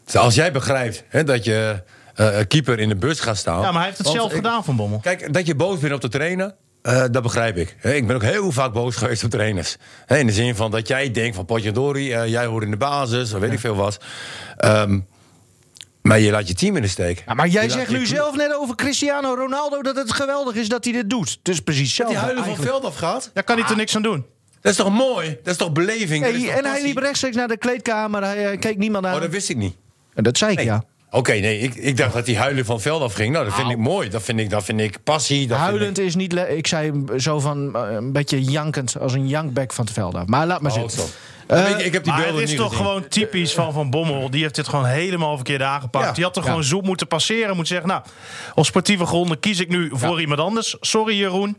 D: Dus als jij begrijpt hè, dat je eh, keeper in de bus gaat staan.
B: Ja, maar hij heeft het
D: Want
B: zelf
D: ik-
B: gedaan, Van Bommel.
D: Kijk, dat je boos bent op de trainer, eh, dat begrijp ik. Hè, ik ben ook heel vaak boos geweest op trainers. Hè, in de zin van dat jij denkt van potjandori, eh, jij hoort in de basis, of weet ik veel wat. Ehm, maar je laat je team in de steek.
A: ja, maar jij
D: Je
A: zegt
D: laat je
A: nu
D: team-
A: zelf net over Cristiano Ronaldo dat het geweldig is dat hij dit doet. Het is precies zelf.
D: Die huilen van het veld afgaat?
B: Daar kan hij er niks aan doen.
D: Dat is toch mooi? Dat is toch beleving? Dat is toch
A: en hij
D: passie?
A: liep rechtstreeks naar de kleedkamer, hij eh, keek niemand aan.
D: Oh, dat wist ik niet.
A: En dat zei ik,
D: Nee.
A: ja.
D: Oké, nee, ik, ik dacht dat hij huilen van het veld afging. Nou, dat vind ik mooi. Dat vind ik, dat vind ik passie. Dat vind
A: Huilend is niet... le- Ik zei hem zo van eh, een beetje jankend, als een jankback van het veld af. Maar laat maar
D: ik... Oh,
A: zitten.
D: zo.
A: Eh,
D: ik, ik heb die
B: Maar
D: beelden
B: het is
D: niet
B: toch
D: gezien.
B: gewoon typisch van Van Bommel. Die heeft dit gewoon helemaal verkeerd aangepakt.
D: Ja.
B: Die had er gewoon zoet moeten passeren. Moet zeggen, nou, op sportieve gronden kies ik nu voor iemand anders. Sorry Jeroen.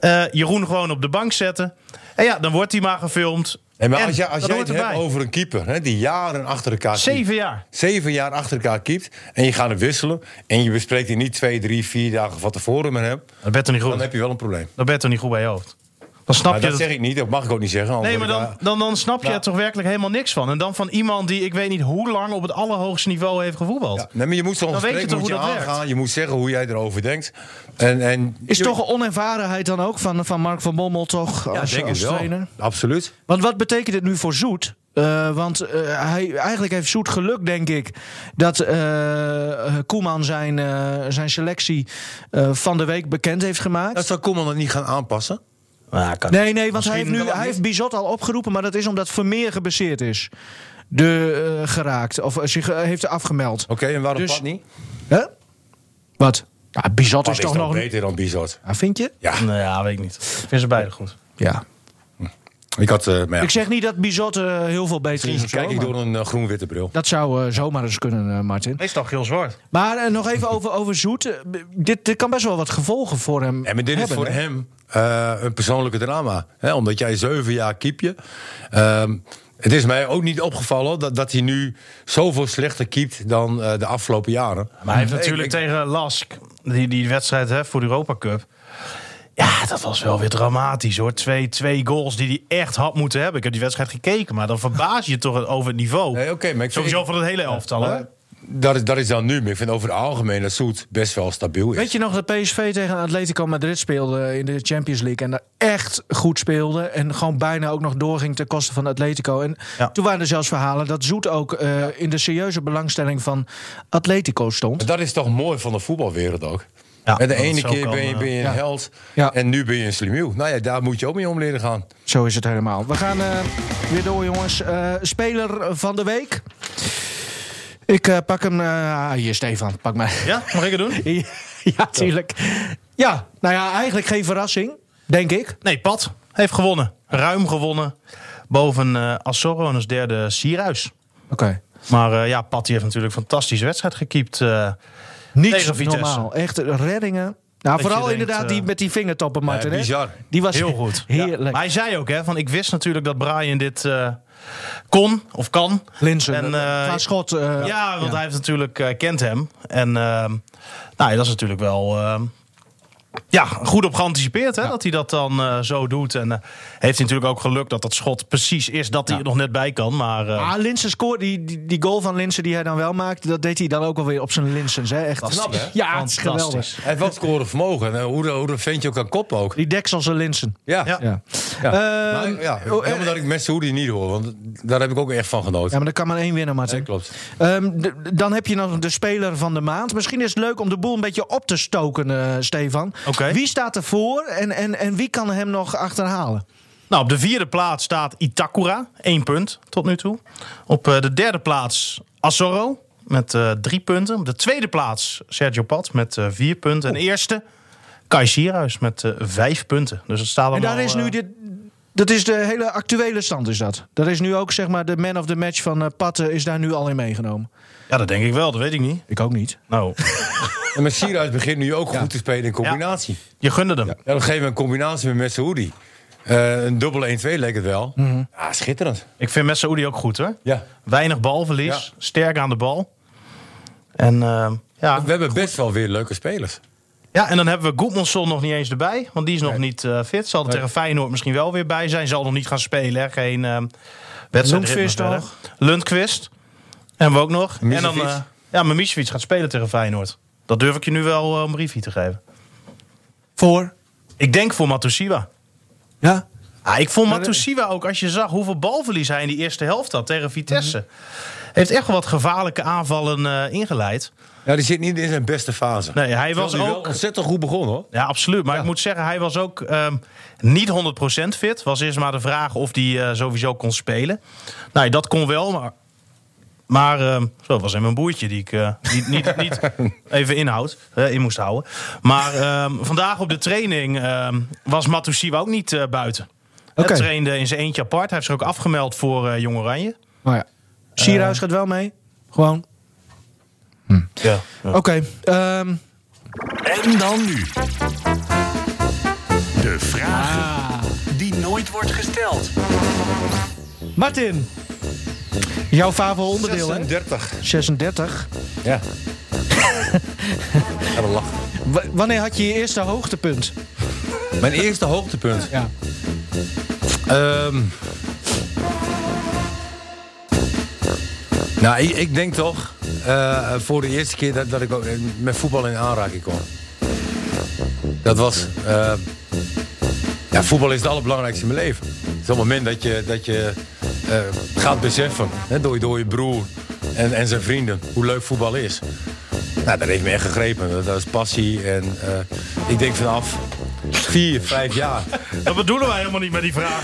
B: Eh, Jeroen gewoon op de bank zetten. En ja, dan wordt hij maar gefilmd.
D: Nee, maar
B: En
D: als, jij- als
B: dat
D: jij
B: hoort
D: het hebt
B: erbij.
D: over een keeper hè, die jaren achter elkaar keept.
B: Zeven jaar.
D: zeven jaar achter elkaar keept en je gaat hem wisselen en je bespreekt die niet twee, drie, vier dagen van tevoren met hem,
B: Dat bent er niet
D: dan
B: goed.
D: heb je wel een probleem.
B: Dat bent er niet goed bij je hoofd. Dan snap
D: Maar
B: je
D: dat zeg ik niet, dat mag ik ook niet zeggen. anders
B: Nee, maar
D: word ik eh, nou-
B: dan,
D: daar-
B: dan, dan snap je er toch werkelijk helemaal niks van. En dan van iemand die ik weet niet hoe lang op het allerhoogste niveau heeft gevoetbald.
D: Ja, nee, maar je moet zo'n
B: Dan weet je
D: gesprek
B: toch
D: moet je
B: hoe dat
D: aangaan,
B: werkt?
D: je moet zeggen hoe jij erover denkt. En, en,
A: Is toch een onervarenheid dan ook van, van Mark van Bommel toch
D: ja,
A: als,
D: denk ik
A: als
D: wel.
A: trainer?
D: Absoluut.
A: Want wat betekent het nu voor Zoet? Eh, want eh, hij, eigenlijk heeft Zoet geluk, denk ik, dat eh, Koeman zijn, eh, zijn selectie eh, van de week bekend heeft gemaakt.
D: Dat zou Koeman dan niet gaan aanpassen.
A: Nee, nee, want hij heeft, nu,
D: wel
A: hij
D: niet.
A: heeft Bizot al opgeroepen, maar dat is omdat Vermeer geblesseerd is. De, eh, geraakt, of eh, zich eh, heeft afgemeld.
D: Oké, en waarom
A: Dus-
D: Pat niet?
A: Hè? Wat? Nou, Bizot
D: Pat
A: is toch nog...
D: beter dan Bizot.
A: Ah, vind je?
D: Ja,
B: Nou ja, weet ik niet. Ik vind ze beide goed.
A: Ja.
D: ik had... eh maar ja,
A: Ik zeg niet dat Bizot eh, heel veel beter is.
D: misschien
A: of zo,
D: kijk ik
A: maar
D: door een eh, groen-witte bril.
A: Dat zou eh, zomaar eens kunnen, eh, Martin.
B: Hij is toch heel zwart.
A: Maar eh, nog even over, over Zoet. Eh, b- dit, dit kan best wel wat gevolgen voor hem
D: En maar dit
A: hebben,
D: is voor
A: hè?
D: hem eh, een persoonlijke drama. Hè? Omdat jij zeven jaar keep je. Ehm, het is mij ook niet opgevallen dat, dat hij nu zoveel slechter keept dan eh, de afgelopen jaren.
B: Maar hij heeft
D: Nee,
B: natuurlijk
D: ik-
B: tegen Lask, die, die wedstrijd hè, voor de Europa Cup. Ja, dat was wel weer dramatisch hoor. Twee, twee goals die hij echt had moeten hebben. Ik heb die wedstrijd gekeken, maar dan verbaas je je toch over het niveau.
D: Nee, oké, maar ik vind-
B: Sowieso van het hele elftal. hè?
D: dat, is, dat is dan nu. Maar ik vind over het algemeen dat Soet best wel stabiel is.
A: Weet je nog dat PSV tegen Atletico Madrid speelde in de Champions League en daar echt goed speelde en gewoon bijna ook nog doorging ten koste van Atletico. En
B: Ja.
A: toen waren er zelfs verhalen dat Zoet ook eh, in de serieuze belangstelling van Atletico stond.
D: Maar dat is toch mooi van de voetbalwereld ook.
B: Ja,
D: En de
B: dat het
D: ene
B: zo
D: keer
B: kan,
D: ben je, ben je een
A: eh, ja.
D: held
A: Ja.
D: en nu ben je een slimiel. Nou ja, daar moet je ook mee om leren gaan.
A: Zo is het helemaal. We gaan eh, weer door, jongens. Eh, speler van de week. Ik eh, pak hem. eh, hier, Stefan, pak mij.
B: Ja, mag ik het doen?
A: [laughs] ja, tuurlijk. Ja, nou ja, eigenlijk geen verrassing, denk ik.
B: Nee, Pat heeft gewonnen. Ruim gewonnen. Boven eh Assorro en als derde Sierhuis.
A: Oké.
B: Maar eh, ja, Pat die heeft natuurlijk een fantastische wedstrijd gekiept. eh.
A: Niet
B: Tegen Vitesse.
A: normaal. Echt reddingen. Nou,
B: je
A: vooral
B: denkt,
A: inderdaad
B: eh,
A: die met die vingertoppen, Martin.
D: ja,
A: hè?
D: bizar.
A: Die was
B: Heel goed. Ja.
A: [laughs] Heerlijk.
B: Maar hij zei ook, hè, van ik wist natuurlijk dat Brian dit eh, kon of kan.
A: Linsen.
B: En,
A: En,
B: eh,
A: schot. eh,
B: Ja, want hij heeft natuurlijk, eh, kent hem. En ehm, nou, ja, dat is natuurlijk wel ehm, ja, goed op geanticipeerd hè, dat hij dat dan eh, zo doet. En eh, heeft hij natuurlijk ook geluk dat dat schot precies is dat hij er nog net bij kan. Maar eh,
A: Ah, Linsen scoort die, die, die goal van Linsen die hij dan wel maakte. Dat deed hij dan ook alweer op zijn Linsens. Hè? Echt
D: Knap, hè?
A: Ja, het is geweldig.
B: Fantastisch.
D: Hij heeft wel scoren vermogen. En hoe, de- hoe dat ventje ook kan koppen ook.
A: Die deksel zijn Linsen.
D: Ja.
B: Ja.
A: Ja.
D: Ja.
A: Ehm,
D: Maar, ja,
A: oh, eh,
D: jammer dat ik Messi niet hoor, want daar heb ik ook echt van
A: ja,
D: genoten.
A: maar er kan maar één winnen, Martin.
D: Nee, klopt.
A: Ehm, d- dan heb je nog de speler van de maand. Misschien is het leuk om de boel een beetje op te stoken, eh, Stefan.
B: Oké.
A: Wie staat ervoor en, en, en wie kan hem nog achterhalen?
B: Nou, op de vierde plaats staat Itakura, één punt tot nu toe. Op eh, de derde plaats Asoro met eh, drie punten. Op de tweede plaats Sergio Pat met eh, vier punten.
A: Oh.
B: En eerste Kai Sierhuis met eh, vijf punten. Dus het staat
A: En daar
B: allemaal,
A: is
B: eh,
A: nu dit. Dat is de hele actuele stand, is dat. Dat is nu ook, zeg maar, de man of the match van eh Patten is daar nu al in meegenomen.
B: Ja, dat denk ik wel, dat weet ik niet.
A: Ik ook niet.
B: Nou,
D: En maar Sierhuis begint nu ook goed te spelen in combinatie.
B: je gunde hem.
D: Ja. dan geven we een combinatie met Messi Eh, een dubbel 1-2 leek het wel.
A: Mhm.
D: Ja, schitterend.
B: Ik vind Messaoudi ook goed hoor.
D: Ja.
B: Weinig balverlies,
D: Ja.
B: sterk aan de bal. En, ehm, ja.
D: We hebben best wel weer leuke spelers.
B: ja, en dan hebben we Goedmanson nog niet eens erbij. Want die is nog niet eh, fit. Zal er tegen Feyenoord misschien wel weer bij zijn. Zal nog niet gaan spelen. Hè. Geen ehm wedstrijd.
A: Lundqvist nog.
B: Lundqvist. En we ook nog. En dan,
D: Misevic.
B: eh ja, maar Misevic gaat spelen tegen Feyenoord. Dat durf ik je nu wel eh, om briefie te geven.
A: Voor?
B: Ik denk voor Matusiwa.
A: Ja.
B: Ah, ik vond Matusiwa ook, als je zag hoeveel balverlies hij in die eerste helft had tegen
D: Mhm.
B: Vitesse. Heeft echt wel wat gevaarlijke aanvallen eh, ingeleid.
D: Ja, die zit niet in zijn beste fase.
B: Nee, hij
D: Terwijl
B: was
D: die wel
B: ook...
D: ontzettend goed begonnen hoor.
B: Ja, absoluut. Maar ik moet zeggen, hij was ook ehm, niet 100% fit. Was eerst maar de vraag of hij eh, sowieso kon spelen. Nou, dat kon wel, maar... Maar ehm, zo was hem een boertje die ik eh, niet, niet, niet even inhoud, eh, in moest houden. Maar ehm, vandaag op de training ehm, was Matusiwa ook niet eh, buiten.
A: Oké.
B: Hij trainde in zijn eentje apart. Hij heeft zich ook afgemeld voor eh, Jong Oranje.
A: Maar ja. eh, Sierhuis gaat wel mee. Gewoon. Hm.
B: Ja.
A: Oké. ehm,
C: En dan nu. De vraag die nooit wordt gesteld.
A: Martin. Jouw favoriete onderdeel, hè?
D: 36.
A: 36.
D: Ja. Ja, dat lachen.
A: W- wanneer had je je eerste hoogtepunt?
D: Mijn eerste hoogtepunt.
A: Ja.
D: Ehm. nou, ik, ik denk toch eh, voor de eerste keer dat, dat ik ook eh, met voetbal in aanraking kwam. Dat was. eh, ja, voetbal is het allerbelangrijkste in mijn leven. Het is op het moment dat je, dat je eh, gaat beseffen, hè, door, je- door je broer en, en zijn vrienden, hoe leuk voetbal is. Nou, dat heeft me echt gegrepen. Dat, dat is passie. En eh, ik denk vanaf vier, vijf jaar
B: Dat bedoelen wij helemaal niet met die vraag.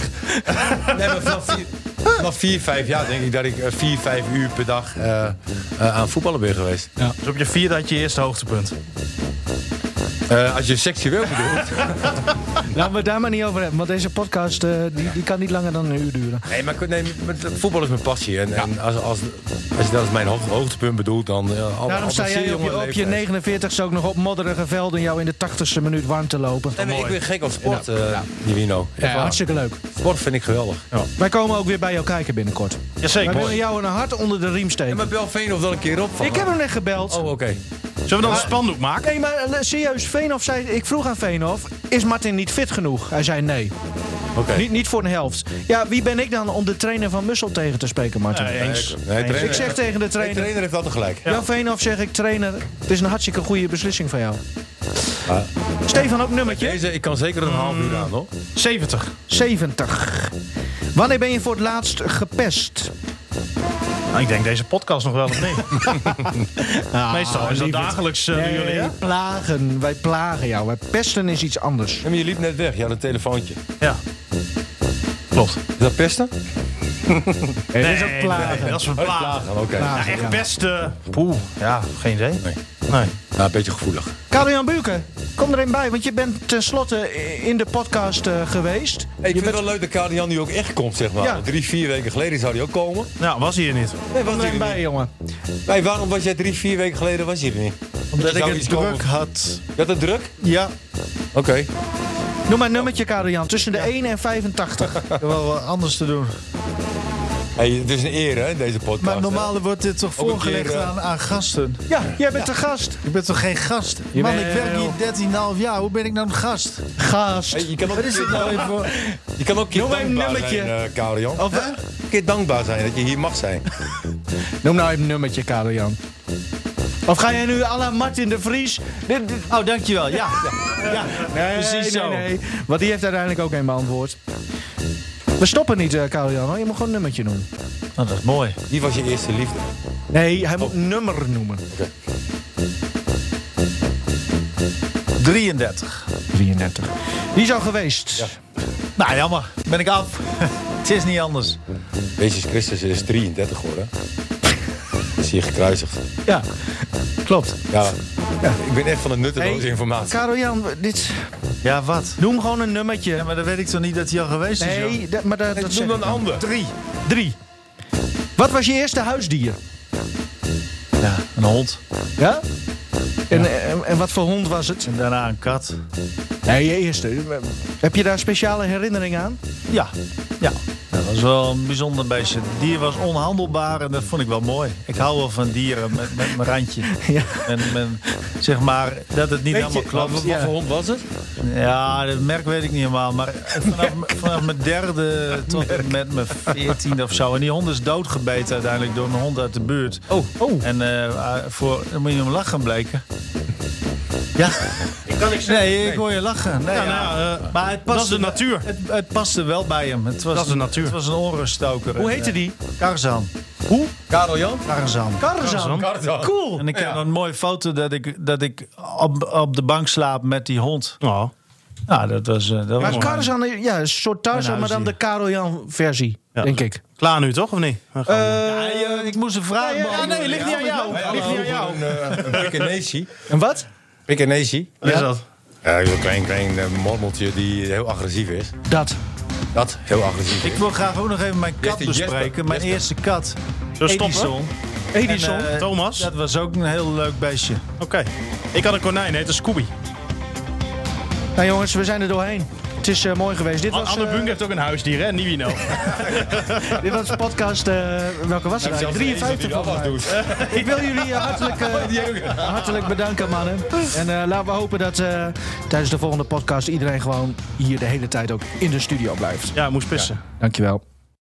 D: Nee, maar vanaf vier, vanaf vier, vijf jaar denk ik dat ik eh, vier, vijf uur per dag eh, eh, aan voetballen ben geweest.
B: Dus op je vierde had je je eerste hoogtepunt.
D: Eh, als je seksueel bedoelt.
A: Laten we het daar maar niet over hebben, want deze podcast eh, die, die kan niet langer dan een uur duren.
D: Nee, maar ik- nee, maar dat- voetbal is mijn passie. En, en als, als, als je dat als mijn hoog- hoogtepunt bedoelt, dan... eh, al- al-
A: Daarom sta
D: al-
A: jij
D: zeer
A: op
D: jonge
A: je, op je
D: leeftijd.
A: 49ste ook nog op modderige velden jou in de 80ste minuut warm te lopen.
D: Nee, maar ik ben gek op sport, eh Nivino. Echt
A: Ja,
D: waar.
A: hartstikke leuk.
D: Sport vind ik geweldig.
A: Wij komen ook weer bij jou kijken binnenkort.
B: Jazeker.
A: Wij willen
B: Mooi.
A: jou een hart onder de riem steken.
D: maar bel Veenhof dan een keer op.
A: Ik heb hem net gebeld.
D: Oh, oké.
B: Zullen we dan een spandoek maken?
A: Nee, maar eh, serieus, Veenhof zei... Ik vroeg aan Veenhof, is Martin niet fit genoeg? Hij zei nee.
D: Oké.
A: Niet, niet voor een helft. Ja, wie ben ik dan om de trainer van Mussel tegen te spreken, Martin?
B: Nee, eens.
D: Nee, trainer,
A: ik zeg tegen de
D: nee,
A: trainer...
D: trainer heeft altijd gelijk.
A: Jan Veenhof zeg ik, trainer, het is een hartstikke goede beslissing van jou. Stefan, ook nummertje?
D: Deze, ik kan zeker een half uur aan, hoor.
B: 70.
A: 70. Wanneer ben je voor het laatst gepest?
B: Nou, ik denk deze podcast nog wel of niet. Ah, Meestal is dat dagelijks eh, door jullie, hè?
A: plagen. Wij plagen jou. Wij pesten is iets anders.
D: Ja, maar je liep net weg. Je had een telefoontje.
B: Ja. Klopt.
D: Is dat pesten?
A: Nee, dit is ook plagen.
B: dat is een plaag.
D: Oké.
B: Ja, echt best... eh, poeh, ja, geen idee.
D: Nee.
B: Nee.
D: Ja, een beetje gevoelig.
A: Karel-Jan Buurken, kom er een bij, want je bent tenslotte in de podcast eh, geweest.
D: Hey, ik vind het wel leuk dat Karel-Jan nu ook echt komt, zeg maar.
A: Ja.
D: Drie, vier weken geleden zou hij ook komen.
B: Nou, was hier niet.
D: Nee, was
A: Kom er
D: hij
A: een
D: er
A: bij, jongen.
D: niet. Nee, waarom was jij drie, vier weken geleden was hij er niet?
E: Omdat ik
D: zou
E: het
D: iets
E: druk
D: komen.
E: had.
D: Je had het druk?
E: Ja,
D: Oké.
A: Noem maar een nummertje, Karel-Jan. Tussen de 1 en 85.
E: ik heb wel wat anders te doen.
D: Hey, het is een eer, hè, deze podcast.
E: Maar normaal wordt dit toch
D: Ook een
E: voorgelegd
D: keer, eh,
E: aan, aan gasten?
A: Ja, jij bent de gast.
E: Ik ben toch geen gast?
A: Jawel.
E: Man, ik werk hier 13,5 jaar. Hoe ben ik nou een gast?
A: Gast.
D: Hey, je kan ook,
E: Wat is dit nou even voor-
D: je kan ook een keer
A: Noem maar een
D: dankbaar
A: nummertje.
D: zijn, eh, Karel-Jan.
A: Of, eh,
D: Een keer dankbaar zijn dat je hier mag zijn.
A: Noem nou even een nummertje, Karel-Jan. Of ga jij nu à la Martin de Vries? Dit- dit-
E: Oh, dankjewel. Ja. ja.
A: Nee,
E: Precies
A: nee,
E: zo.
A: nee. Want die heeft uiteindelijk ook een beantwoord. We stoppen niet, eh Karel-Jan. hoor. Je moet gewoon een nummertje noemen.
E: Nou, dat is mooi.
D: Wie was je eerste liefde?
A: Nee, hij moet nummer noemen.
E: 33.
A: 33. Die is al geweest.
E: Nou, jammer. Ben ik [laughs] af. Het is niet anders.
D: Jezus Christus is 33 geworden. Is hier gekruisigd.
A: Ja, klopt.
D: Ja. Ik ben echt van de nutteloze
A: Hey,
D: informatie.
A: Karel-Jan, dit...
E: Ja, wat?
A: noem gewoon een nummertje.
E: Ja, maar dan weet ik toch niet dat hij al geweest is? joh?
A: Nee, dat- maar dat, dat
D: Noem
A: zeg
D: dan
A: ik
D: een
A: dan.
D: ander.
E: nou? Drie.
A: Drie. Wat was je eerste huisdier?
E: Ja, een hond.
A: Ja? eh, En, en, en wat voor hond was het?
E: En daarna een kat.
A: Nee, je eerste. Heb je daar speciale herinnering aan?
E: Ja, ja. Dat was wel een bijzonder beestje. Het dier was onhandelbaar en dat vond ik wel mooi. Ik hou wel van dieren met, met mijn randje.
A: Ja.
E: En, men- zeg maar dat het niet helemaal
D: Wat,
E: klopt.
D: wat
E: Ja.
D: voor hond was het?
E: Ja, dat merk weet ik niet helemaal. Maar vanaf, vanaf mijn derde tot en met mijn veertiende of zo. En die hond is doodgebeten uiteindelijk door een hond uit de buurt.
A: Oh, oh.
E: En eh, voor, dan moet je hem lachen bleken. Ja. Ik kan niks zeggen. Nee, ik hoor je lachen. Nee,
B: Ja,
E: ja,
B: nou, eh,
E: maar het
B: dat is
E: paste-
B: de natuur.
E: Het, het paste wel bij hem. Het was
B: Dat is de
E: een-
B: natuur.
E: Het was een onruststoker.
A: Hoe
E: En,
A: heette
E: eh,
A: die?
E: Tarzan.
D: Karel Jan?
E: Tarzan.
A: Tarzan. Cool.
E: En ik heb een mooie foto dat ik, dat ik op, op de bank slaap met die hond.
B: Oh.
E: Nou, dat was... eh, dat was
A: Maar
E: mooi.
A: Tarzan, is- ja, een soort Tarzan,
E: Mijn
A: maar dan de
E: huisdier.
A: Karel Jan versie, denk ik.
B: Klaar nu toch, of niet? We gaan-
E: Ja, ja, ik moest een vraag
A: ja, ja,
E: beantwoorden.
A: nee, ligt niet aan jou.
E: Ja,
A: Ligt niet aan jou.
D: Een, eh, een Pekinesi.
A: En wat?
D: Pekinesi.
B: Wat is dat?
D: Ja, een klein, klein eh, mormeltje die heel agressief is.
A: Dat.
D: Dat, heel agressief.
E: Ik wil graag ook nog even mijn kat
D: Jesper, Jesper,
E: bespreken. Mijn
D: Jesper.
E: eerste kat.
B: Zo stoppen.
E: Edison.
A: Edison.
E: En, eh,
B: Thomas.
E: Dat was ook een heel leuk beestje.
B: Oké. Ik had een konijn, heette Scooby.
A: nou jongens, we zijn er doorheen. Het is eh, mooi geweest. Dit was,
B: Anne
A: eh,
B: Bunk heeft ook een huisdier, hè? Nivino.
A: dit was podcast, eh, welke was het eigenlijk? 53 volgens mij. Ik wil jullie eh, [laughs] hartelijk, eh, hartelijk bedanken, mannen. En eh, laten we hopen dat eh, tijdens de volgende podcast iedereen gewoon hier de hele tijd ook in de studio blijft.
B: ja, moest pissen.
A: Dankjewel.